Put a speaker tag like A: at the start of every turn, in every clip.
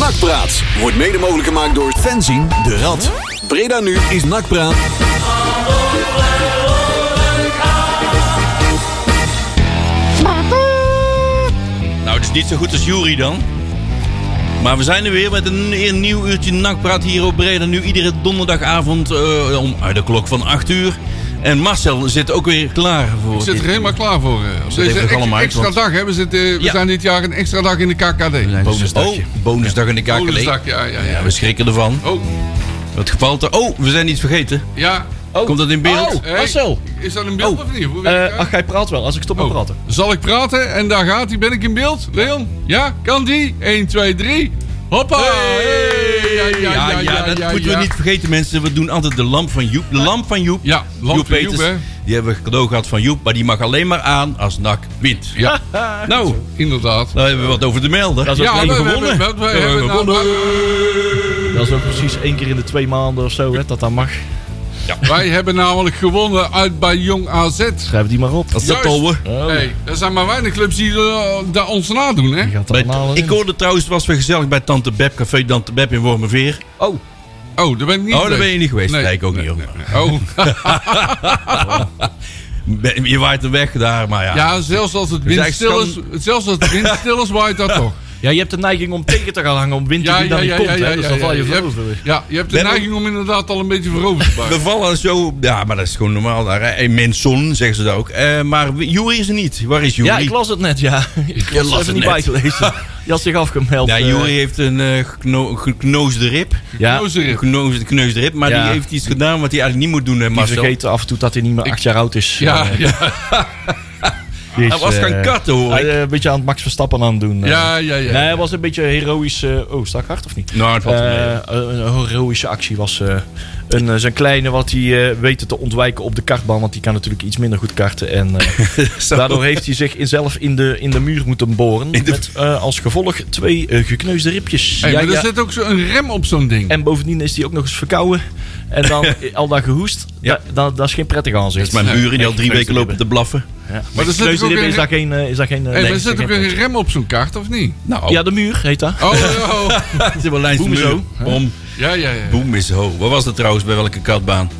A: Nakpraat wordt mede mogelijk gemaakt door Fenzin de Rad. Breda nu is Nakpraat.
B: Nou, het is niet zo goed als Jury dan. Maar we zijn er weer met een, een nieuw uurtje nachtpraat hier op Breda. Nu iedere donderdagavond eh, om uit de klok van 8 uur. En Marcel zit ook weer klaar voor.
C: Ik zit er
B: dit.
C: helemaal klaar voor. eh. Op
B: even
C: deze ex-
B: allemaal uit,
C: extra
B: want-
C: dag. Hè. We, zitten, eh, we
B: Ja.
C: zijn dit jaar een extra dag in de KKD.
B: Oh, bonusdag in de KKD.
C: Bonusdag, ja, ja, ja.
B: Ja, we schrikken ervan.
C: Oh,
B: Het geval te... Oh, we zijn iets vergeten.
C: ja.
B: Komt dat in beeld?
D: Oh,
C: Hey,
D: Marcel.
C: Is dat in beeld
B: Oh,
C: of niet? Hoe werkt
D: Eh
C: dat?
D: ach, jij praat wel. Als ik stop met
C: Oh,
D: praten.
C: Zal ik praten? En daar gaat hij. Ben ik in beeld? Leon? Ja? Kan die? 1, 2, 3. Hoppa!
B: Ja, ja, dat moeten we niet vergeten, mensen. We doen altijd de lamp van Joep. De lamp van Joep.
C: Ja, lamp
B: Joep
C: van Joep,
B: Peters,
C: hè.
B: Die hebben we cadeau gehad van Joep. Maar die mag alleen maar aan als NAC wint.
C: Ja,
B: Nou,
C: inderdaad.
B: daar hebben we wat over te melden.
D: Dat is ook
C: Ja,
D: één-
C: we
B: hebben
C: hebben-
B: gewonnen.
C: we- we hebben nou-
D: Dat is ook precies één keer in de twee maanden of zo, hè, dat dat mag.
C: Wij hebben namelijk gewonnen uit bij Jong AZ.
D: Schrijf die maar op.
B: Dat is dat
C: Juist.
B: alweer.
D: Oh,
C: Hey, er zijn maar weinig clubs die eh, daar ons nadoen, hè?
D: die gaat er
B: Bij-
D: allemaal
B: Ik
D: in.
B: hoorde trouwens, het was weer gezellig bij Tante Beb, Café Tante Beb in Wormerveer.
D: Oh,
C: Oh, daar ben ik niet
B: Oh, daar ben je niet geweest.
C: Nee.
B: Nee, ik ook niet. hoor.
C: Oh,
B: Ben- Je waait er weg daar, maar ja.
C: ja, zelfs als het windstil is,
B: eigenlijk
C: zelfs als het windstil is, waait dat toch.
D: ja, je hebt de neiging om tegen te gaan hangen om wind
C: Ja,
D: die
C: ja,
D: dan
C: ja,
D: niet
C: ja,
D: komt,
C: ja,
D: hè.
C: ja,
D: Dus dan val je
C: ja, ja.
D: voorover.
C: Ja, je hebt de
B: We hebben-
C: neiging om inderdaad al een beetje voorover te
B: We
C: buigen.
B: vallen zo... Ja, maar dat is gewoon normaal daar. hè. En Menson, zeggen ze dat ook. Eh, maar wie- Jury is er niet. Waar is Jury?
D: Ja, ik las het net, ja. Ik
B: Je
D: was
B: las
D: er
B: het
D: niet
B: net.
D: bijgelezen. Je had zich afgemeld.
B: Ja,
D: eh.
B: Jury heeft een eh, geno- geknoosde rib.
D: Ja,
C: Zo zeg ik.
B: Geknoosde, gekneusde rib. Maar
D: Ja.
B: die heeft iets gedaan wat hij eigenlijk niet moet doen, hè,
D: die
B: Marcel.
D: vergeten af en toe dat hij niet meer acht jaar oud is.
C: Ja,
D: Eh,
C: ja,
D: die is,
B: Hij was
D: eh,
B: gaan katten, hoor ik.
D: hij, eh, Een beetje aan het Max Verstappen aan het doen. eh.
C: ja, ja,
D: Nee,
C: ja.
D: hij was een beetje heroïsch. eh, oh, sta ik hard of niet?
B: Nou, het valt wel mee.
D: Eh, een heroïsche actie was eh, een, eh, zijn kleine wat hij eh weten te ontwijken op de kartbaan. Want die kan natuurlijk iets minder goed karten. En eh,
B: Zo.
D: daardoor heeft hij zich in- zelf in de, in de muur moeten boren.
B: de-
D: Met eh, als gevolg twee eh, gekneusde ribjes.
C: Hey,
D: Ja,
C: maar
D: ja.
C: er zit ook zo'n rem op zo'n ding.
D: En bovendien is hij ook nog eens verkouden. En dan eh, al dat gehoest.
B: Ja.
D: Da- da- dat is geen prettig aanzicht.
B: Dat is mijn buren die al drie weken lopen te blaffen.
D: Ja.
C: Maar er zit ook
D: Gekneusde ribben
C: een-
D: is daar geen... eh, Is daar geen
C: Hey,
D: eh, nee,
C: maar er
D: is daar
C: zit ook
D: geen
C: een rem op zo'n kaart, of niet?
B: Nou,
D: Ja, de muur heet dat.
C: Oh, oh.
B: het is wel lijntje
D: Boem is
B: muur.
D: ho, hè?
B: Om
C: ja, ja, ja.
B: boem is ho. Wat was dat trouwens bij welke katbaan?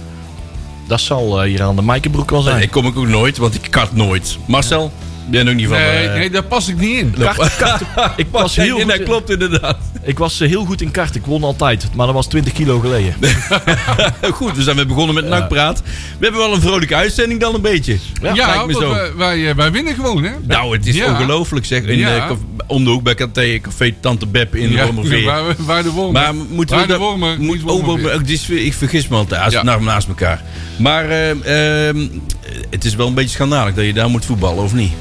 D: Dat zal eh, hier aan de Meikenbroek wel zijn.
B: Nee, kom ik ook nooit, want ik kat nooit. Marcel, ben ook niet van.
C: Nee,
B: eh,
C: nee, daar pas ik niet in.
D: Kart- kart- ik was heel
B: Ja,
D: goed
B: dat
D: in-
B: klopt inderdaad.
D: Ik was eh, heel goed in kart. Ik won altijd. Maar dat was 20 kilo geleden.
B: Goed, we zijn weer begonnen met nakpraat. We hebben wel een vrolijke uitzending dan een beetje.
C: Ja,
B: lijkt me
C: want
B: zo.
C: wij, wij, eh, wij winnen gewoon, hè?
B: Nou, het is
C: Ja.
B: ongelooflijk zeg. In,
C: Ja.
B: eh, caf- om de hoek bij Café, café Tante Beb in
C: Ja,
B: Wormerveer.
C: waar, waar de wormen.
B: Maar moeten we
C: Waar
B: dat-
C: de wormen.
B: moet-
C: niet
B: oh,
C: Wormerveer.
B: wormen, ook, dit is weer- ik vergis me altijd, als
C: Ja.
B: naar- naast elkaar. Maar eh, ehm, het is wel een beetje schandalig dat je daar moet voetballen, of niet?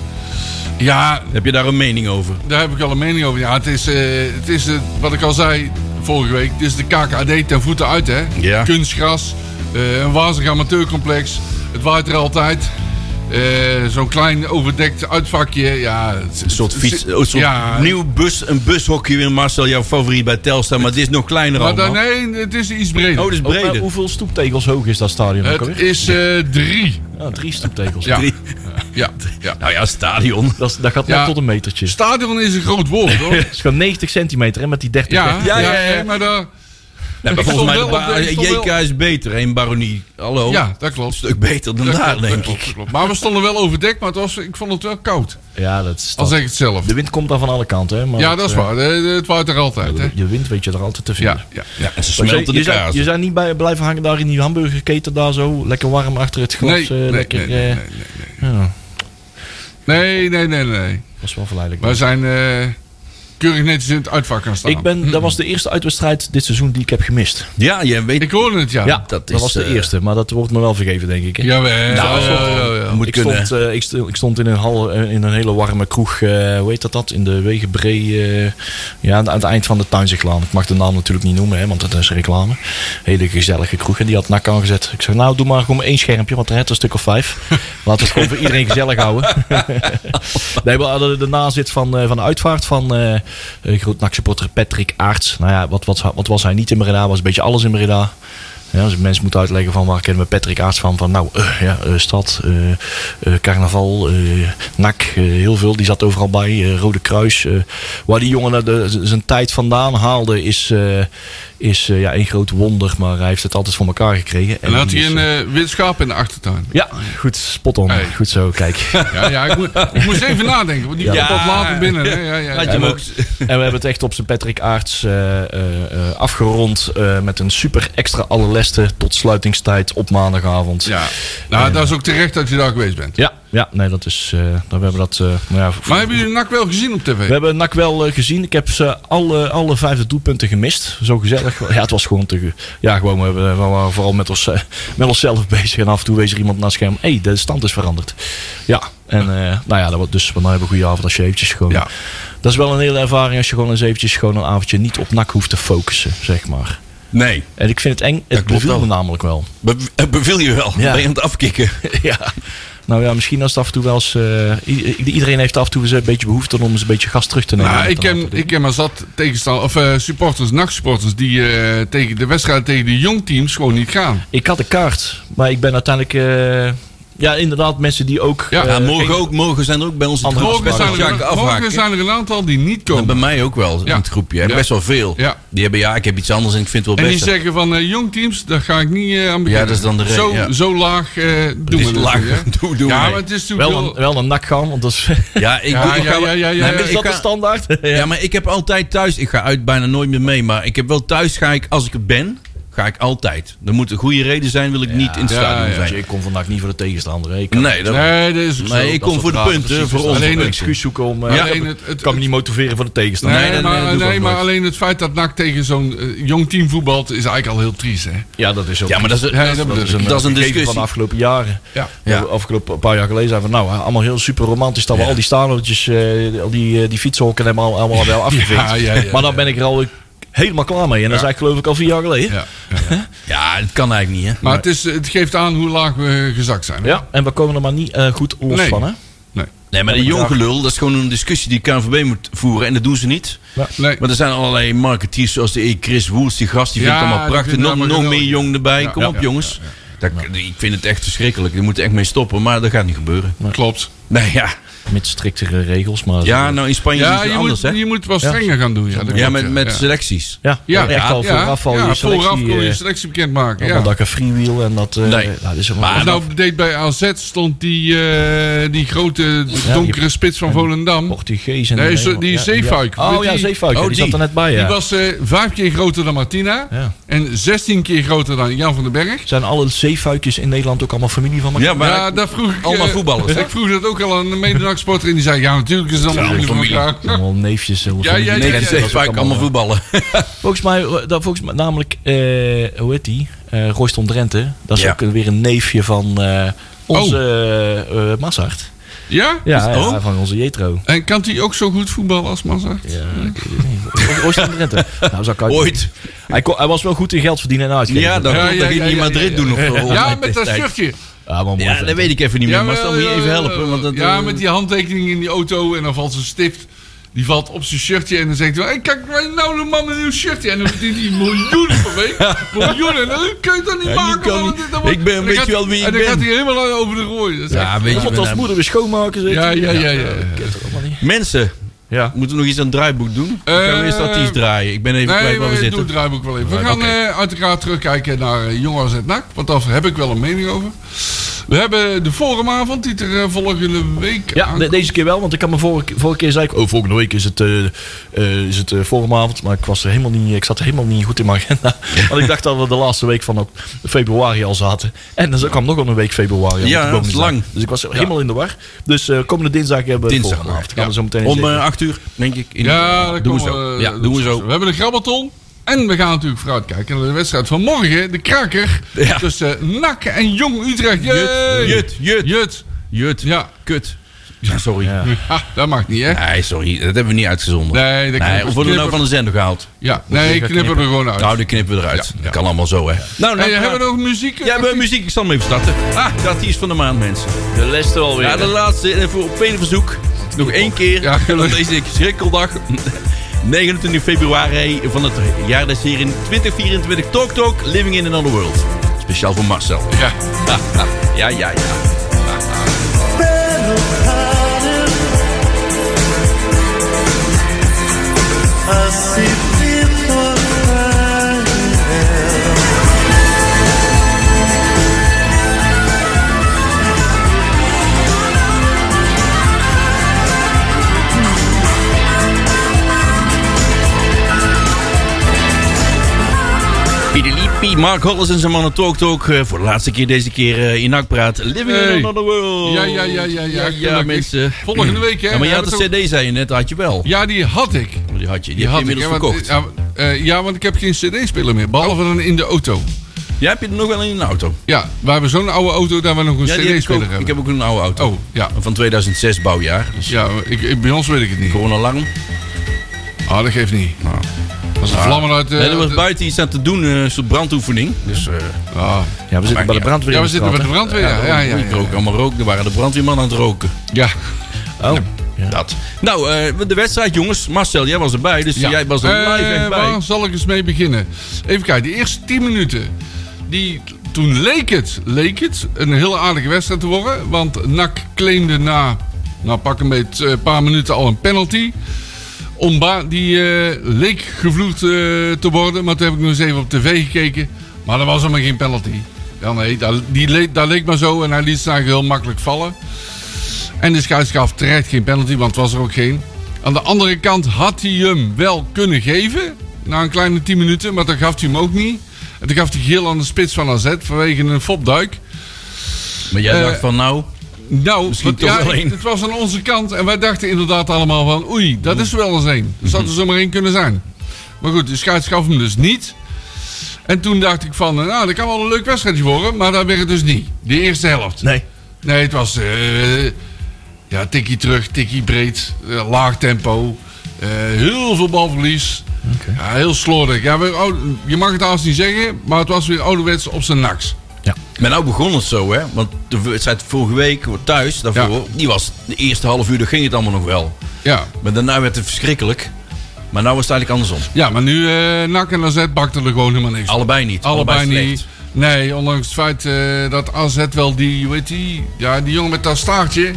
C: Ja,
B: Heb je daar een mening over?
C: Daar heb ik al een mening over. Ja, het is, eh, het is eh, wat ik al zei vorige week. Het is de KKD ten voeten uit, hè?
B: Ja.
C: Kunstgras, eh, een wazig amateurcomplex. Het waait er altijd. Eh, Zo'n klein overdekt uitvakje. Ja, het-
B: Een soort
C: het-
B: fiets,
C: het-
B: een soort
C: ja,
B: nieuw bus, een bushokje weer, Marcel, jouw favoriet bij Telstar, maar het is nog kleiner
C: Maar
B: allemaal.
C: dan, nee, het is iets
B: Oh,
C: breder.
B: dat is
D: Ook, eh,
B: breder.
D: hoeveel stoeptegels hoog is dat stadion ook
C: het
D: alweer?
C: is eh, drie.
D: Ja, drie stoeptegels.
C: Ja,
B: Drie.
C: ja, ja.
B: Nou ja, stadion.
D: Dat, is- dat gaat
C: Ja.
D: net tot een metertje. Het
C: Stadion is een groot woord, hoor.
D: is gewoon 90 centimeter hè, met die 30
C: Ja,
D: weg.
C: ja,
B: Ja, ja,
C: ja,
B: ja.
C: maar daar,
B: Nee, maar
C: Ik
B: volgens mij, de
C: stond wel op de- ik stond
B: JK is beter, een baronie. Hallo.
C: ja, dat klopt.
B: Oh. Een stuk beter dan
C: Dat
B: daar,
C: klopt, dat
B: denk
C: klopt,
B: ik.
C: dat klopt. Maar we stonden wel overdekt, maar het was, ik vond het wel koud.
D: Ja, dat is
C: Al
D: dat-
C: zeg ik het zelf.
D: De wind komt daar van alle kanten. Hè, maar
C: Ja, dat is
D: eh,
C: waar. Eh, Het waait er altijd, hè?
D: de- Je wind weet je er altijd te vinden.
C: Ja, ja.
B: Ja, en ze
D: Want jij-
B: smelten
D: je,
B: de
D: zou-
B: kaas.
D: je zijn niet bij, blijven hangen daar in die hamburgerketen daar zo. Lekker warm achter het glas.
C: Nee,
D: eh,
C: nee,
D: lekker,
C: nee, nee,
D: eh,
C: nee,
D: ja,
C: Nee, nee, nee, nee.
D: dat is wel verleidelijk.
C: Wij zijn eh, keurig netjes in het uitvak gaan staan.
D: ik ben, dat was de eerste uitwedstrijd dit seizoen die ik heb gemist.
B: Ja, jij weet...
C: Ik hoorde het, ja.
D: Ja,
B: dat
D: dat,
B: is,
D: was de
B: eh,
D: eerste. Maar dat wordt me wel vergeven, denk ik. hè.
C: Jawel.
B: Nou,
C: ja,
D: eh,
C: ja, ja.
B: moet
D: ik,
B: kunnen.
D: stond, eh, ik, stu- ik stond in een, hal, eh, in een hele warme kroeg, eh, hoe heet dat dat? In de Wegenbree, eh, ja, aan, aan het eind van de Tuinzichtlaan. Ik mag de naam natuurlijk niet noemen, hè, want dat is reclame. Hele gezellige kroeg en die had nak aangezet. Ik zeg, nou doe maar gewoon één schermpje, want er had een stuk of vijf. Laten we het gewoon voor iedereen gezellig houden. nee, we hadden de nazit van, eh, van de uitvaart van eh eh, groot NAC supporter Patrick Aarts. Nou ja, wat, wat, wat was hij niet in Breda? Was een beetje alles in Breda. Ja, als ik mensen moet uitleggen van waar kennen we Patrick Aarts van, van nou, eh, ja, eh, stad, eh, eh, carnaval, eh NAC, eh, heel veel. Die zat overal bij, eh, Rode Kruis. eh. waar die jongen naar de, z- zijn tijd vandaan haalde is, eh, is eh, ja, een groot wonder, maar hij heeft het altijd voor elkaar gekregen.
C: En had
D: die
C: hij
D: is,
C: een
D: eh,
C: eh, wit schaap in de achtertuin.
D: ja, goed, spot on.
C: Hey.
D: Goed zo, kijk.
C: Ja, ja ik, moet, ik moest even nadenken, want die
B: Ja.
C: komt wat later binnen. Hè? Ja, ja,
B: Laat je
C: ja.
B: hem ook...
D: En we hebben het echt op zijn Patrick Aarts eh, eh, eh, afgerond eh, met een super extra allerleste tot sluitingstijd op maandagavond.
C: Ja. Nou, dat is ook terecht dat je daar geweest bent.
D: Ja, ja, nee, dat is. eh, dan we hebben dat. eh, nou ja,
C: Maar hebben jullie NAC wel gezien op tv?
D: we hebben NAC wel eh, gezien. Ik heb ze alle, alle vijfde doelpunten gemist. Zo gezellig. Ja, het was gewoon te... ge- Ja, gewoon, we, hebben- we waren vooral met, ons, eh, met onszelf bezig. En af en toe wees er iemand naar het scherm. Hé, hey, de stand is veranderd. Ja, en eh, nou ja, dat wordt dus we hebben een goede avond als je eventjes gewoon...
C: Ja.
D: Dat is wel een hele ervaring als je gewoon eens eventjes gewoon een avondje niet op NAC hoeft te focussen, zeg maar.
B: Nee,
D: En ik vind het eng.
B: Dat
D: Het
B: klopt
D: beviel
B: wel.
D: me namelijk wel.
B: Be- eh, beviel je wel.
D: Ja.
B: Ben je aan het afkicken?
D: ja. Nou ja, misschien als het af en toe wel eens... eh, i- i- iedereen heeft af en toe eens een beetje behoefte om eens een beetje gas terug te nemen.
C: Nou,
D: Met
C: ik
D: een
C: ken,
D: aantal
C: ik ken maar zat tegenstand, of, eh, supporters, nachtsupporters die eh, tegen de wedstrijd tegen de jongteams gewoon niet gaan.
D: Ik had een kaart, maar ik ben uiteindelijk. eh, ja, inderdaad, mensen die ook.
C: Ja,
D: eh,
B: Ja, morgen
D: geen-
B: ook. Morgen zijn er ook bij ons in het
D: Andere
B: groep.
C: Morgen
D: afspraken.
C: zijn,
B: Ga ik
C: er,
B: afhaken.
C: morgen zijn er een aantal die niet
B: En bij
C: komen.
B: mij ook wel,
C: Ja.
B: in het groepje. hè.
C: Ja.
B: Best wel veel.
C: Ja.
B: Die hebben, ja, ik heb iets anders en ik vind het wel
C: En die
B: best.
C: zeggen van eh, jongteams, daar ga ik niet eh, aan beginnen.
B: dat is dan de reden,
C: zo,
B: ja.
C: zo laag eh doen
B: is
C: we
B: laag.
C: natuurlijk, hè.
B: Doe- doe
C: ja,
B: maar.
C: maar het is natuurlijk
D: Wel
C: wel-
D: een, wel een nak gaan, want dat is.
B: Ja, ik
C: Ja,
B: doe- ik
C: ja,
B: ga wel-
C: ja, ja,
B: Nee,
C: ja,
B: maar
C: ja.
D: is
B: ik
D: dat de
B: ga-
D: standaard?
B: Ja, maar ik heb altijd thuis, ik ga uit bijna nooit meer mee, maar ik heb wel thuis ga ik, als ik er ben, ga ik altijd. Er moet een goede reden zijn, wil ik niet in het
C: Ja,
B: stadion
C: ja.
B: zijn.
D: ik kom vandaag niet voor de tegenstander. hè. Ik kan-
B: Nee, dat,
C: Nee, dat is ook zo.
B: nee ik
D: dat
B: kom
D: is
B: voor de
D: wat raar,
B: punten,
D: precies,
B: voor
D: dat
B: ons.
D: is
C: Alleen
D: een
C: het-
D: excuus zoeken om. eh,
B: Ja,
C: Alleen het, het,
D: ik kan me niet motiveren voor de tegenstander.
C: nee,
B: nee, nee, dat
C: maar,
B: doe ik
C: nee,
B: ook
C: maar
B: nooit.
C: alleen het feit dat NAC tegen zo'n eh, jong team voetbalt is eigenlijk al heel triest. Hè?
D: Ja, dat is ook.
B: Ja, maar dat is,
C: Ja, dat
B: dat
C: bedoel
B: is,
C: ik.
B: een,
D: eh,
B: dat is een
D: gegeven van
B: discussie.
D: de afgelopen jaren.
C: Ja.
B: Ja.
D: Ja. Afgelopen een paar jaar geleden zeiden we nou, eh, allemaal heel super romantisch dat we al die stanootjes, eh, al die, eh, die fietshokken hebben al- allemaal wel afgevinkt.
C: Ja, ja, ja,
D: maar dan
C: ja.
D: ben ik er al helemaal klaar mee. En dat is eigenlijk geloof ik al vier jaar geleden.
C: Ja.
B: Ja, dat kan eigenlijk niet, hè.
C: Maar het, is, het geeft aan hoe laag we gezakt zijn. hè.
D: Ja, en we komen er maar niet eh, goed los
C: Nee.
D: van, hè?
C: Nee.
B: Nee, maar de jongelul, dat is gewoon een discussie die KNVB moet voeren en dat doen ze niet.
C: Nee.
B: Maar er zijn allerlei marketeers zoals de E. Chris Woels, die gast, die
C: Ja,
B: vindt het allemaal
C: die
B: prachtig.
C: vindt
B: Nog,
C: het
B: nog
C: allemaal
B: meer
C: geweldig.
B: jong erbij,
C: Ja,
B: kom
C: ja,
B: op
C: ja,
B: jongens. Dat, ik vind het echt verschrikkelijk. Je moet er echt mee stoppen, maar dat gaat niet gebeuren.
C: Klopt.
B: Nee, ja.
D: Met striktere regels, maar... eh,
B: Ja, nou in Spanje is
C: Ja,
B: het
C: je
B: anders,
C: moet,
B: hè?
C: je moet wel
D: Ja.
C: strenger gaan doen. Ja, dat
B: ja,
C: klopt,
B: met, met eh,
C: ja.
B: selecties.
D: Ja, eh,
C: Ja,
D: echt al
C: ja,
D: vooraf al
C: ja,
D: je selectie...
C: vooraf kon je
D: eh,
C: selectie bekendmaken. Ja.
D: allemaal dat ik een freewheel en dat... eh,
B: Nee.
D: nou, dat is helemaal-
B: Maar-
C: Als nou deed bij AZ stond die, eh, die grote donkere
D: die-
C: spits van Volendam.
D: Portugees en...
C: Nee, zo- die zeefuik.
D: Ja. Oh
C: Weet
D: ja,
C: die-
D: zeefuik.
B: oh,
D: die,
B: die.
D: zat er net bij, ja.
C: Die was eh, vijf keer groter dan Martina.
D: Ja.
C: En 16 keer groter dan Jan van den Berg.
D: Zijn alle zeefuikjes in Nederland ook allemaal familie van elkaar?
B: Ja, maar
C: ja, daar vroeg ik. eh,
B: allemaal voetballers, hè?
C: Ik vroeg dat ook al aan een medenachtsporter. En die zei: Ja, natuurlijk is het allemaal
B: Ja,
C: jullie van
B: familie.
C: elkaar.
D: Allemaal neefjes. allemaal
C: Ja,
D: familie.
C: ja, ja,
B: nee,
C: ja,
B: dat
C: ja,
B: is vaak allemaal voetballen.
D: Volgens mij, eh, dat, volgens mij namelijk, eh, hoe heet die? Eh Royston Drenthe. Dat is
B: Ja.
D: ook eh, weer een neefje van eh,
C: Oh.
D: onze eh eh, Mazart.
C: Ja?
D: Ja, ja,
B: oh.
D: van onze Jetro.
C: En kan die ook zo goed voetballen als Massa?
D: Ja, ik weet het niet. Royston Drenthe. Nou, zou ik uit-
B: Ooit.
D: Hij, kon- hij was wel goed in geld verdienen en uitgeven.
B: Ja, dat,
C: Ja,
B: dat
C: ja,
B: ging
C: ja,
B: hij in
C: ja,
B: Madrid
C: ja,
B: doen. Of, of
C: Ja,
B: mijn
C: met dat
B: tijd.
C: shirtje.
D: Ja, maar Ah, mooi
B: Ja,
D: vent.
B: dat weet ik even niet meer. Maar stel me je even helpen. Want dat,
C: ja,
B: eh,
C: met die handtekening in die auto en dan valt zijn stift. Die valt op zijn shirtje en dan zegt hij: hey, Kijk, wij nou een man met een nieuw shirtje. En dan verdient hij miljoenen per week. Miljoenen, dat kun je toch niet
B: Ja, die
C: maken?
B: kan
C: man?
B: niet.
C: Dat- dat wordt-
B: Ik ben-
C: dan
B: weet
C: gaat
B: je wel
C: hij-
B: wie ik
C: En dan
B: ben?
C: gaat hij helemaal eh, over de rooi. Dat is echt-
B: ja, weet je,
D: Want als
B: met-
D: moeder weer schoonmaken zit.
C: ja, ja, ja, ja.
D: Ik weet het allemaal niet.
B: Mensen,
D: Ja.
B: moeten we nog iets aan het draaiboek doen? Of gaan we
C: Eh,
B: eerst artiest draaien? Ik ben even
C: Nee,
B: kwijt waar we
C: we doen
B: zitten.
C: het draaiboek wel even. We gaan
B: oké.
C: eh, uiteraard terugkijken naar eh, Jong AZ NAC. Want daar heb ik wel een mening over. We hebben de forumavond die er eh, volgende week
D: Ja,
C: aankomt.
D: de- deze keer wel, want ik had me vorige, vorige keer zei ik, oh, volgende week is het, eh, eh, is het eh, forumavond. Maar ik, was er helemaal niet, ik zat er helemaal niet goed in mijn agenda. Want ik dacht dat we de laatste week van ok- februari al zaten. En dan kwam nog wel een week februari. al
B: Ja,
D: op de bovenste
B: dat is lang.
D: dag. Dus ik was helemaal in de war. Dus eh, komende dinsdag hebben we de
B: Dinsdag,
D: forumavond.
B: ja.
D: Gaan we zo meteen
B: Om
D: eens even-
B: eh, acht uur, denk ik. in-
C: Ja, dat
B: doen we
C: komen
B: zo.
C: we-
B: Ja,
C: dat
B: doen we
C: is-
B: zo.
C: We hebben een grabbelton. En we gaan natuurlijk vooruitkijken naar de wedstrijd van morgen. De kraker
B: Ja.
C: tussen NAC en Jong Utrecht. Jee!
B: Jut, jut, jut,
C: Jut.
B: jut.
C: Ja.
B: Kut. Ja, sorry.
D: Ja.
C: Ha, dat mag niet, hè?
B: Nee, sorry. Dat hebben we niet uitgezonden.
C: Nee, dat
B: Nee,
C: knippen-
B: of we het nou van
C: knippen-
B: de zender gehaald.
C: Ja, nee, ik knip er gewoon uit.
B: Nou, die knippen we eruit.
C: Ja.
B: Dat kan allemaal zo, hè. Nou,
C: Hey, hebben we nog muziek?
B: Ja, we hebben muziek. Ik zal hem even starten. Ah, de artiest van de maand, mensen.
D: De les er alweer.
B: Ja, de laatste. En voor op vele verzoek. Nog één keer.
C: Oh, Ja,
B: Ja,
C: gelukkig.
B: deze schrikkeldag. 29 februari van het jaar des hier in 2024. Talk Talk, Living in Another World. Speciaal voor Marcel.
C: Ja.
B: Ha, ha. Ja, ja, ja.
E: I see people crying.
B: Piedeliepi, Mark Hollis en zijn mannen Talk Talk. eh, voor de laatste keer deze keer eh, in Nakpraat. Living
C: Hey.
B: in Another World.
C: Ja, ja, ja, ja, ja,
B: ja,
C: gelukkig.
B: mensen.
C: Volgende week, hè?
B: Ja, maar je
C: We
B: had de
C: hebben
B: cd, zei je net, had je wel.
C: Ja, die had ik.
B: Die had je, die,
C: Die
B: heb
C: had
B: je
C: ik,
B: inmiddels
C: hè, want,
B: verkocht. Oh.
C: ja, eh, ja, want ik heb geen cd-speler meer. Behalve dan in de auto.
B: Jij hebt je er nog wel in een auto.
C: Ja, we hebben zo'n oude auto dat we nog een
B: Ja, die heb ik, ook.
C: cd-speler
B: ik
C: hebben.
B: heb ook een oude auto.
C: Oh, ja.
B: Van 2006 bouwjaar. Dus
C: Ja, ik, ik- bij ons weet ik het niet.
B: gewoon alarm.
C: Ah, dat geeft niet. Dat is een vlammen uit... eh,
B: Nee, er was
C: uit-
B: buiten iets aan te doen, eh, een soort brandoefening. Dus eh,
C: Ah.
D: Ja, we zitten bij de brandweer.
C: Ja, we
D: in de
C: zitten bij de
D: straat,
C: brandweer. Ja, ja, ja.
B: ik rook allemaal rook. Er waren de brandweermannen aan het roken.
C: Ja,
D: hè? Oh. Ja.
B: Dat. Nou, eh, de wedstrijd, jongens. Marcel, jij was erbij, dus
C: ja.
B: jij was er live
C: Eh,
B: echt bij.
C: Waar zal ik eens mee beginnen? Even kijken, de eerste 10 minuten. Die, toen leek het, leek het een heel aardige wedstrijd te worden. Want NAC claimde na nou, pak een beetje een paar minuten al een penalty. Omba, die eh, leek gevloed eh, te worden. Maar toen heb ik nog eens even op tv gekeken. Maar dat was helemaal geen penalty. Ja, nee, dat, die leek, dat leek maar zo. En hij liet ze eigenlijk heel makkelijk vallen. En de scheids gaf terecht geen penalty, want het was er ook geen. Aan de andere kant had hij hem wel kunnen geven. Na een kleine 10 minuten, maar dan gaf hij hem ook niet. En toen gaf hij geel aan de spits van AZ vanwege een fopduik.
B: Maar jij
C: eh,
B: dacht van, nou,
C: Nou,
B: Misschien
C: want
B: toch
C: ja,
B: wel één.
C: het was aan onze kant. En wij dachten inderdaad allemaal van... Oei, dat is er wel eens één. Er zou er zomaar één kunnen zijn. Maar goed, de scheids gaf hem dus niet. En toen dacht ik van... Nou, dat kan wel een leuk wedstrijdje worden. Maar dat werd het dus niet. De eerste helft.
D: Nee.
C: Nee, het was. eh, ja, tikkie terug, tikkie breed, eh, laag tempo. eh, heel veel balverlies. Ja, heel slordig. Ja, we- oh, je mag het haast niet zeggen, maar het was weer ouderwets op zijn naks.
B: Maar nou begon het zo, hè? Want de wedstrijd vorige week thuis, daarvoor, die was de eerste half uur, daar ging het allemaal nog wel.
C: Ja,
B: Maar daarna werd het verschrikkelijk. Maar nou was het eigenlijk andersom.
C: ja maar nu eh NAC en AZ bakten er gewoon helemaal niks van.
B: Allebei niet.
C: Allebei,
B: slecht.
C: niet. Nee, ondanks het feit eh, dat AZ wel die, weet die, ja, die jongen met dat staartje,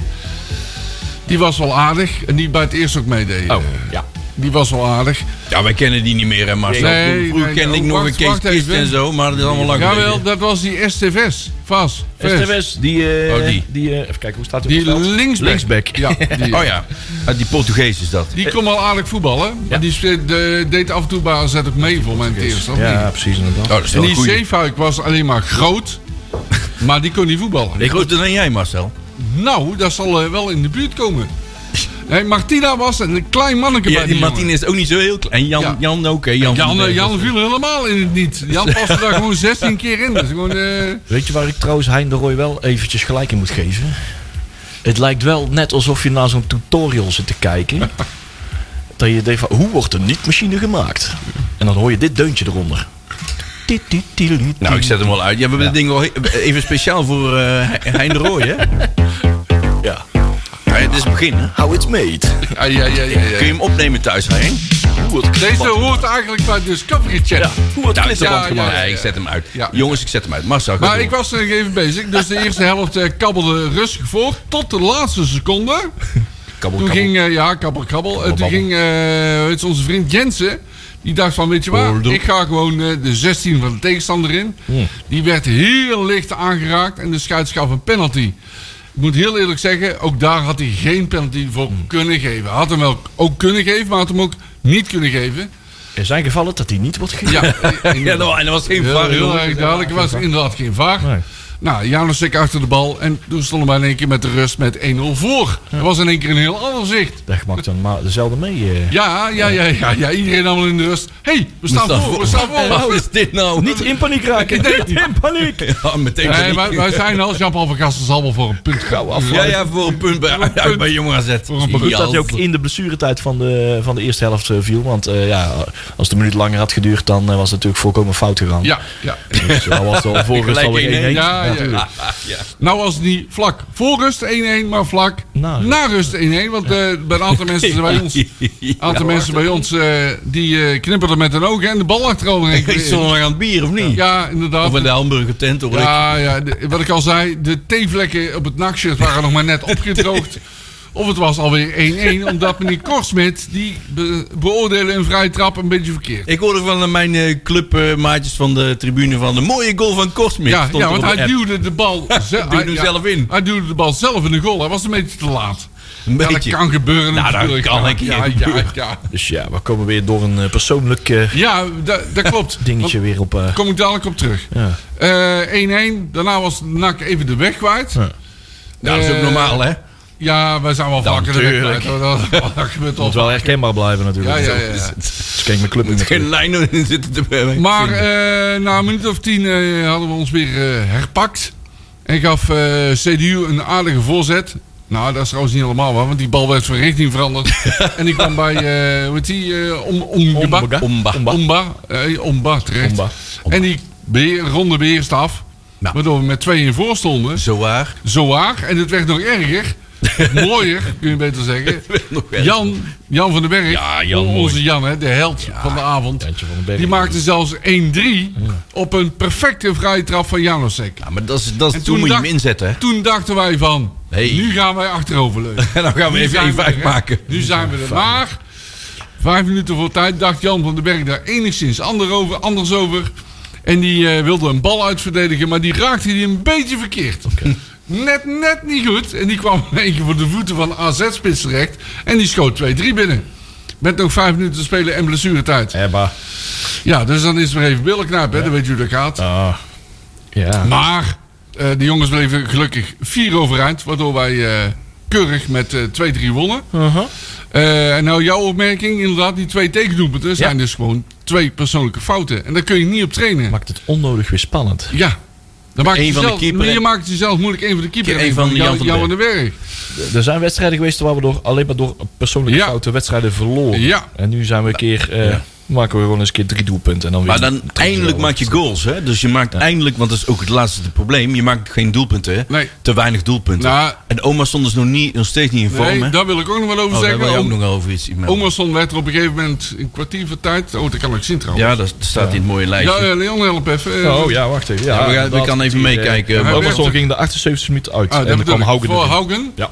C: die was wel aardig. En die bij het eerst ook meedeed.
B: Oh, ja.
C: Die was wel aardig.
B: Ja, wij kennen die niet meer, hè, Marcel.
C: Nee,
B: Vroeger
C: nee,
B: kende ik
C: oh,
B: nog
C: wacht,
B: een Kees
C: wacht even.
B: Kist en zo, maar dat is allemaal lang
C: Jawel,
B: geleden.
C: dat was die STVS. Vas. Vest.
D: STWS, die... eh,
B: Oh, die.
D: die eh, even kijken, hoe staat het?
C: Die linksback.
D: Linksback.
C: Ja, die,
B: Oh ja, uit die Portugees is dat. Oh,
C: die kon wel aardig voetballen. Maar die spe- de- deed af en toe bij AZ ook mee voor mijn eerst. of
D: Ja,
C: niet?
D: precies inderdaad.
B: Oh, dat is
C: En
B: wel een
C: die
B: goeie.
C: Zeefuik was alleen maar groot. Maar die kon niet voetballen.
B: Nee, groter dan jij, Marcel.
C: Nou, dat zal eh, wel in de buurt komen. Nee, Martina was een klein manneke
B: Ja,
C: bij
B: die
C: die
B: Martine
C: jongen.
B: is ook niet zo heel klein. En Jan,
C: Ja.
B: Jan ook, hè? Jan, van
C: Jan,
B: den
C: eh,
B: Berg
C: Jan
B: was-
C: viel helemaal in het niet. Jan paste daar gewoon 16 keer in. Dat is gewoon... eh,
D: Weet je waar ik trouwens Hein de Roy wel eventjes gelijk in moet geven? Het lijkt wel net alsof je naar zo'n tutorial zit te kijken. dat je denkt van, hoe wordt een niet-machine gemaakt? En dan hoor je dit deuntje eronder. Tiet, tiet, tiet, tiet.
B: Nou, ik zet hem wel uit. Ja, we hebben dit ding wel he- even speciaal voor eh Hein de Rooij, hè?
D: Ja.
B: Ja, het is het begin, hè?
D: How it's made.
C: ah, ja, ja, ja, ja.
B: Kun je hem opnemen thuis, Hein?
D: Hoe wordt
C: Deze
D: klittenband-
C: hoort eigenlijk bij Discovery
D: Ja,
C: Channel.
D: hoe wordt
B: Nou,
D: klittenband
C: ja,
D: gemaakt?
C: ja.
B: Nee, ik zet hem uit.
C: Ja.
B: Jongens, ik zet hem uit. Marcel, ga
C: Maar
B: door.
C: ik was er nog even bezig. Dus de eerste helft eh, kabbelde rustig voor. Tot de laatste seconde.
B: Kabbel,
C: Toen
B: kabbel.
C: ging, eh, ja, kabbel, kabbel. Eh, toen
B: babbel.
C: ging eh, weet je, onze vriend Jensen. Die dacht van, weet je waar,
B: Hoordoek.
C: ik ga gewoon eh, de 16 van de tegenstander in. Die werd heel licht aangeraakt en de scheids gaf een penalty. Ik moet heel eerlijk zeggen, ook daar had hij geen penalty voor kunnen geven. Had hem wel ook kunnen geven, maar had hem ook niet kunnen geven.
D: Er zijn gevallen dat die niet wordt gegeven.
C: Ja,
B: Ja, nou, en er was geen
C: Heel,
B: var,
C: heel
B: jongens.
C: erg duidelijk. Er was inderdaad geen vaar.
D: Nee.
C: Nou, Janusik achter de bal. En toen stonden wij in één keer met de rust met 1-0 voor. Dat was in één keer een heel ander zicht.
D: Dat maakt dan maar dezelfde mee. eh.
C: Ja, ja, ja, ja, ja. Iedereen allemaal in de rust. Hé, hey, we staan voor, we staan voor.
B: Wat is dit nou?
D: Niet in paniek raken. Niet in paniek.
B: Ja, meteen.
C: Nee,
B: paniek.
C: wij, wij zijn al, Jean-Paul van Gasten zal wel voor een punt gauw af.
B: Ja, ja, voor een punt bij, uit bij Jong AZ.
C: Voor een
D: Goed
C: punt.
D: dat hij ook in de blessuretijd van de, van de eerste helft eh, viel. Want eh, ja, als het een minuut langer had geduurd, dan eh, was het natuurlijk volkomen fout gegaan.
C: Ja, ja.
D: Dus, eh, al was het al voor rust
B: Gelijk
D: alweer 1-1.
B: één, hè?
C: Ja, ja, ja.
D: natuurlijk.
B: Ja.
C: Nou was het niet vlak voor rust 1-1, maar vlak
D: Na
C: na,
D: rust.
C: rust 1-1. Want eh, bij een aantal mensen bij ons, aantal mensen bij ons eh, die eh, knipperden met hun ogen en de bal achterover.
B: Ik stond nog aan het bier, of niet?
C: Ja, inderdaad.
B: Of in de hamburger tent, hoor ik.
C: Ja, ja de- wat ik al zei, de theevlekken op het nachtshirt waren nog maar net opgedroogd. Of het was alweer 1-1, omdat meneer Korsmit die be- beoordelen een vrije trap een beetje verkeerd.
B: Ik hoorde van mijn eh, clubmaatjes van de tribune van de mooie goal van Korsmit.
C: Ja,
B: Stond
C: ja,
B: er op
C: want
B: de
C: hij
B: app.
C: duwde de bal ze-
B: Duwde hem
C: ja,
B: zelf in.
C: Hij duwde de bal zelf in de goal. Hij was een beetje te laat.
B: Een
C: Ja, dat
B: beetje.
C: kan gebeuren
B: Nou, dat
C: natuurlijk.
B: kan
C: ja,
B: een keer
C: ja, ja,
B: gebeuren.
C: ja.
D: Dus ja, we komen weer door een eh, persoonlijk eh,
C: Ja, da- dat klopt.
D: dingetje weer op... eh,
C: Daar kom ik dadelijk op terug.
D: ja.
C: Eh, 1-1. Daarna was NAC even de weg kwijt. Ja,
B: Nou,
C: eh,
B: dat is ook normaal, hè?
C: wij zijn wel vaker de weg
D: tuurlijk.
C: kwijt. hoor. Dat, dat, gebeurt
D: Moet
C: al.
D: wel herkenbaar blijven natuurlijk.
C: Ja, ja, ja. ja.
D: Dus kijk mijn club niet meer
B: Geen
D: terug.
B: lijn in zitten te brengen.
C: Maar eh, na een minuut of tien eh, hadden we ons weer eh, herpakt. En gaf eh, CDU een aardige voorzet. Nou, dat is trouwens niet helemaal waar, want die bal werd van richting veranderd. en die kwam bij, eh hoe heet die, eh om, Omgeba.
D: Ombaga?
B: Omba.
D: Omba.
C: Omba. Eh, Omba, terecht.
D: Omba.
C: En die beheer, ronde beheerst af.
B: Nou.
C: Waardoor we met tweeën voor stonden.
B: Zo waar.
C: Zo waar. En het werd nog erger. Mooier, kun je beter zeggen.
B: nog erger.
C: Jan, Jan van den Berg.
B: Ja, Jan, mooi.
C: onze Jan, hè, de held van de avond.
D: Jantje van den Berg.
C: Die maakte zelfs 1-3 op een perfecte vrije trap van Janosek.
B: Ja, maar dat is, dat is, toen,
C: En toen
B: moet je
C: dacht-
B: hem inzetten, hè?
C: Toen dachten wij van,
B: Hey.
C: nu gaan wij achteroverleunen.
B: En dan gaan we
C: Nu zijn
B: even 1-5
C: we er, hè.
B: maken.
C: Nu zijn we er. Maar vijf minuten voor tijd dacht Jan van den Berg daar enigszins ander over, anders over. En die eh, wilde een bal uitverdedigen, maar die raakte die een beetje verkeerd. Net, net niet goed. En die kwam in één keer voor de voeten van AZ-spits terecht. En die schoot 2-3 binnen. Met nog vijf minuten te spelen en blessuretijd.
D: Ebba.
C: Ja, dus dan is het weer even billenknijp, hè? Dan weet je hoe dat gaat.
D: Ah. Ja.
C: Maar eh, de jongens bleven gelukkig vier overeind. Waardoor wij eh, keurig met eh 2-3 wonnen.
D: Uh-huh.
C: Eh, en nou, jouw opmerking, inderdaad, die twee tekendoelpunten zijn dus gewoon twee persoonlijke fouten. En daar kun je niet op trainen.
D: Maakt het onnodig weer spannend.
C: ja. Dan maak je,
B: Eén van de
C: jezelf-
B: keeper
C: nee, je
B: en-
C: maakt het jezelf moeilijk. Eén van de keeper
B: Eén
C: één
B: van de Jan
C: jou-
B: van
C: jou aan
B: den
C: de werk.
D: Er zijn wedstrijden geweest waar we door, alleen maar door persoonlijke
C: Ja.
D: fouten wedstrijden verloren.
C: Ja.
D: En nu zijn we een keer, eh, maken we gewoon eens een keer drie doelpunten. En dan weer
B: Maar dan
D: drie- drie-
B: eindelijk maak je goals, hè? Dus je maakt eindelijk, want dat is ook het laatste probleem, je maakt geen doelpunten, hè?
C: Nee.
B: Te weinig doelpunten.
C: Nou-
B: en oma stond dus nog, niet, nog steeds niet in vorm,
C: Nee,
B: hè?
C: daar wil ik ook nog wel over
B: oh, daar
C: zeggen.
B: wil je ook
C: Om-
B: nog over iets melden.
C: Omerson werd er op een gegeven moment een kwartier van tijd. Oh, dat kan ik zien trouwens.
B: Ja, dat dat staat in het mooie lijstje.
C: Ja, eh, Leon, help even. Eh,
D: Oh ja, wacht even. Ja,
B: Ja, we gaan- we
D: inderdaad.
B: kan even
D: Die, eh,
B: meekijken.
D: Van
C: Hij
D: Bommelsel
C: werd-
D: ging de 78 minuten uit.
C: Ah,
D: en
C: dat
D: dan kwam
C: bedoel ik.
D: Haugen
C: Voor
D: erin.
C: Haugen.
D: Ja.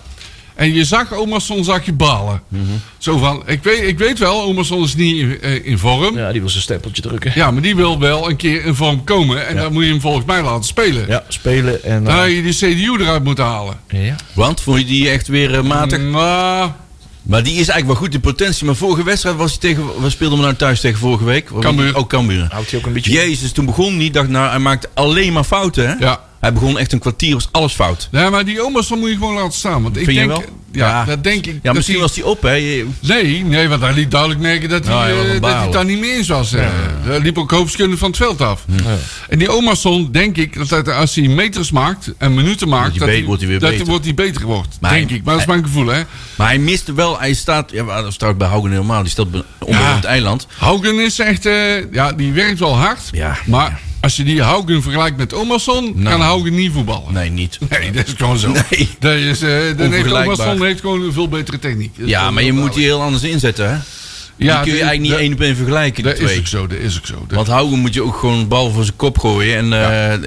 C: En je zag Omerson zag je balen. Zo van, ik weet, ik weet wel, Omerson is niet in, eh, in vorm. Ja.
D: ja, die wil zijn stempeltje drukken. Ja,
C: maar die wil wel een keer in vorm komen. En dan moet je hem volgens mij laten spelen.
D: spelen en...
C: Dan had
D: eh,
C: je de CDU eruit moeten halen.
D: ja.
B: Want vond je die echt weer eh, matig?
C: Nou,
B: Maar die is eigenlijk wel goed in potentie. Maar vorige wedstrijd was hij tegen. We speelden hem nou thuis tegen vorige week.
C: Cambuur.
B: Ook Cambuur.
D: Houdt hij ook een beetje...
B: Jezus, toen begon hij. Dacht nou, hij maakte alleen maar fouten. Hè?
C: Ja.
B: Hij begon echt een kwartier, was alles fout.
C: nee, maar die Omerson moet je gewoon laten staan. Want ik
B: Vind je
C: denk,
B: wel?
C: Ja,
B: Ja.
C: dat denk ik.
B: Ja,
C: dat
B: misschien
C: die-
B: was hij op, hè? Je-
C: Nee, nee, want hij liet duidelijk merken dat hij,
B: Nou, hij was
C: eh,
B: aan het
C: dat hij
B: balen.
C: daar niet mee eens was. eh. Daar liep ook hoofdkunde van het veld af. En die Omerson, denk ik, dat hij, als hij meters maakt en minuten maakt,
B: hij
C: dat,
B: be-
C: hij,
B: wordt hij weer
C: dat
B: beter.
C: wordt hij beter wordt.
B: Maar
C: denk
B: hij-
C: ik, maar dat is mijn gevoel, hè.
B: Maar hij miste wel. Hij staat. Ja, maar dat staat bij Haugen helemaal. Die staat onder
C: Ja.
B: het eiland.
C: Haugen is echt, eh, ja, die werkt wel hard.
B: Ja.
C: Maar als je die Haugen vergelijkt met Omerson,
B: Nou.
C: kan Haugen niet voetballen.
B: Nee, niet.
C: Nee, dat is gewoon zo.
B: Nee.
C: Dat is, eh dan heeft
B: Onvergelijkbaar.
C: Omerson heeft gewoon een veel betere techniek. Dat is
B: Ja,
C: wel
B: maar je
C: heel
B: moet die heel anders inzetten, hè? Die
C: Ja,
B: kun je
C: die-
B: eigenlijk niet
C: dat-
B: één op één vergelijken. Die
C: duidelijk. Dat
B: twee.
C: is ook zo, dat is ook zo. Dat-
B: Want Haugen moet je ook gewoon een bal voor zijn kop gooien en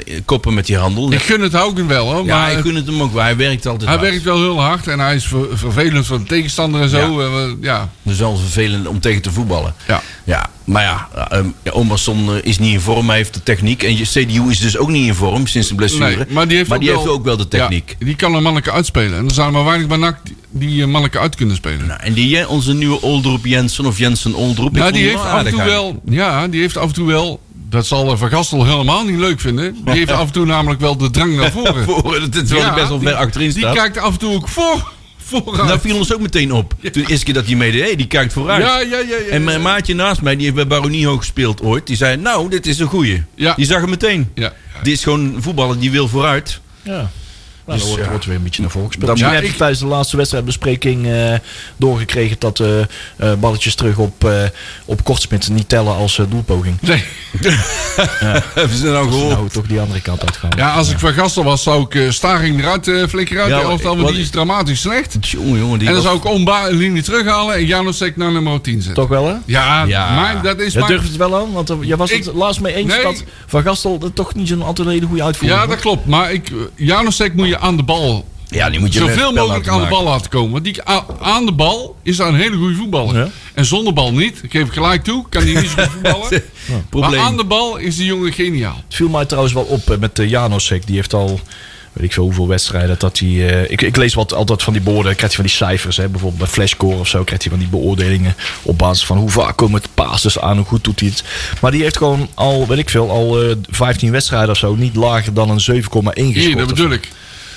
B: eh, koppen met die handel.
C: ik gun het Haugen wel, hoor.
B: Ja,
C: maar
B: ik
C: het-
B: gun het hem ook. wel. Hij werkt altijd
C: Hij
B: hard.
C: werkt wel heel hard en hij is ver- vervelend voor de tegenstander en zo. Ja. ja.
B: Dat is wel vervelend om tegen te voetballen.
C: Ja.
B: ja maar ja, ehm, ja, Omerson eh, is niet in vorm, hij heeft de techniek. En je CDU is dus ook niet in vorm sinds de blessure.
C: Nee, maar die heeft, ook, wel,
B: ook wel de techniek.
C: Ja, die kan een manneke uitspelen. En er zijn maar weinig bij NAC die- die een manneke uit kunnen spelen.
B: Nou, en die, eh, onze nieuwe Oldroep Jensen of Jensen Oldroep. ik
C: Nou,
B: vond
C: die
B: hem
C: heeft af en
B: aardig
C: toe
B: eigenlijk.
C: wel... Ja, die heeft af en toe wel... Dat zal eh, Van Gastel helemaal niet leuk vinden. Die heeft af en toe namelijk wel de drang naar voren.
B: Voor, eh, dat is wel
C: Ja,
B: best wel
C: die-
B: ver achterin
C: Die
B: staat. Nou,
C: kijkt af en toe ook voor, vooruit.
B: dat viel ons ook meteen op. Toen de eerste keer dat hij meedeed, hey, die kijkt vooruit.
C: Ja, eh, ja, ja, ja.
B: En eh, mijn maatje naast mij, die heeft bij Baronieho gespeeld ooit. Die zei, nou, dit is een goeie.
C: Ja.
B: Die zag hem meteen.
C: Ja.
B: Dit is gewoon een voetballer die wil vooruit.
D: Ja. Nou, dan wordt,
C: ja.
D: wordt weer een beetje naar voren gespeeld.
C: Dan
D: Misschien
C: moet
D: heb je
C: ik-
D: tijdens de laatste wedstrijdbespreking eh, doorgekregen dat eh, eh, balletjes terug op, eh op Kortsmit niet tellen als eh, doelpoging.
C: Nee. Hebben ze nou gehoord?
D: Nou, toch die andere kant uitgaan.
C: Ja, als ik van Gastel was, zou ik eh, Staring eruit eh, flikkeren uit
B: Ja,
C: de elftal, want
B: wat-
C: die is dramatisch slecht.
B: Jongen, jongen. Die
C: En dan zou ik Omba een linie terughalen en Janosek naar nummer 10 zetten.
D: Toch wel, hè?
C: Ja,
B: Ja.
C: maar dat is
D: Je
C: maar...
D: durft het wel aan, want eh, je was het
C: Ik-
D: laatst mee eens
C: Nee.
D: dat Van Gastel dat toch niet zo'n altijd een hele goede uitvoering
C: Ja, dat klopt. Maar ik, Janosek moet je aan de bal...
B: Ja, die moet je
C: Zoveel
B: met spel
C: mogelijk aan
B: laten
C: de bal laten komen. Want die, a- aan de bal is hij een hele goede voetballer.
D: Ja.
C: En zonder bal niet. Ik geef het gelijk toe. Kan hij niet zo goed voetballen.
B: maken.
C: Maar aan
B: Probleem.
C: de bal is die jongen geniaal.
D: Het viel mij trouwens wel op eh, met eh, Janosek. Die heeft al, weet ik veel hoeveel wedstrijden, dat hij... eh, ik, ik lees wat, altijd van die borden, krijgt hij van die cijfers. Hè, bijvoorbeeld bij Flashcore of zo krijgt hij van die beoordelingen... op basis van hoe vaak komen het passes aan, hoe goed doet hij het. Maar die heeft gewoon al, weet ik veel, al eh, 15 wedstrijden of zo... niet lager dan een 7,1
C: Hier,
D: gescoord.
C: dat
D: of
C: bedoel
D: zo.
C: ik.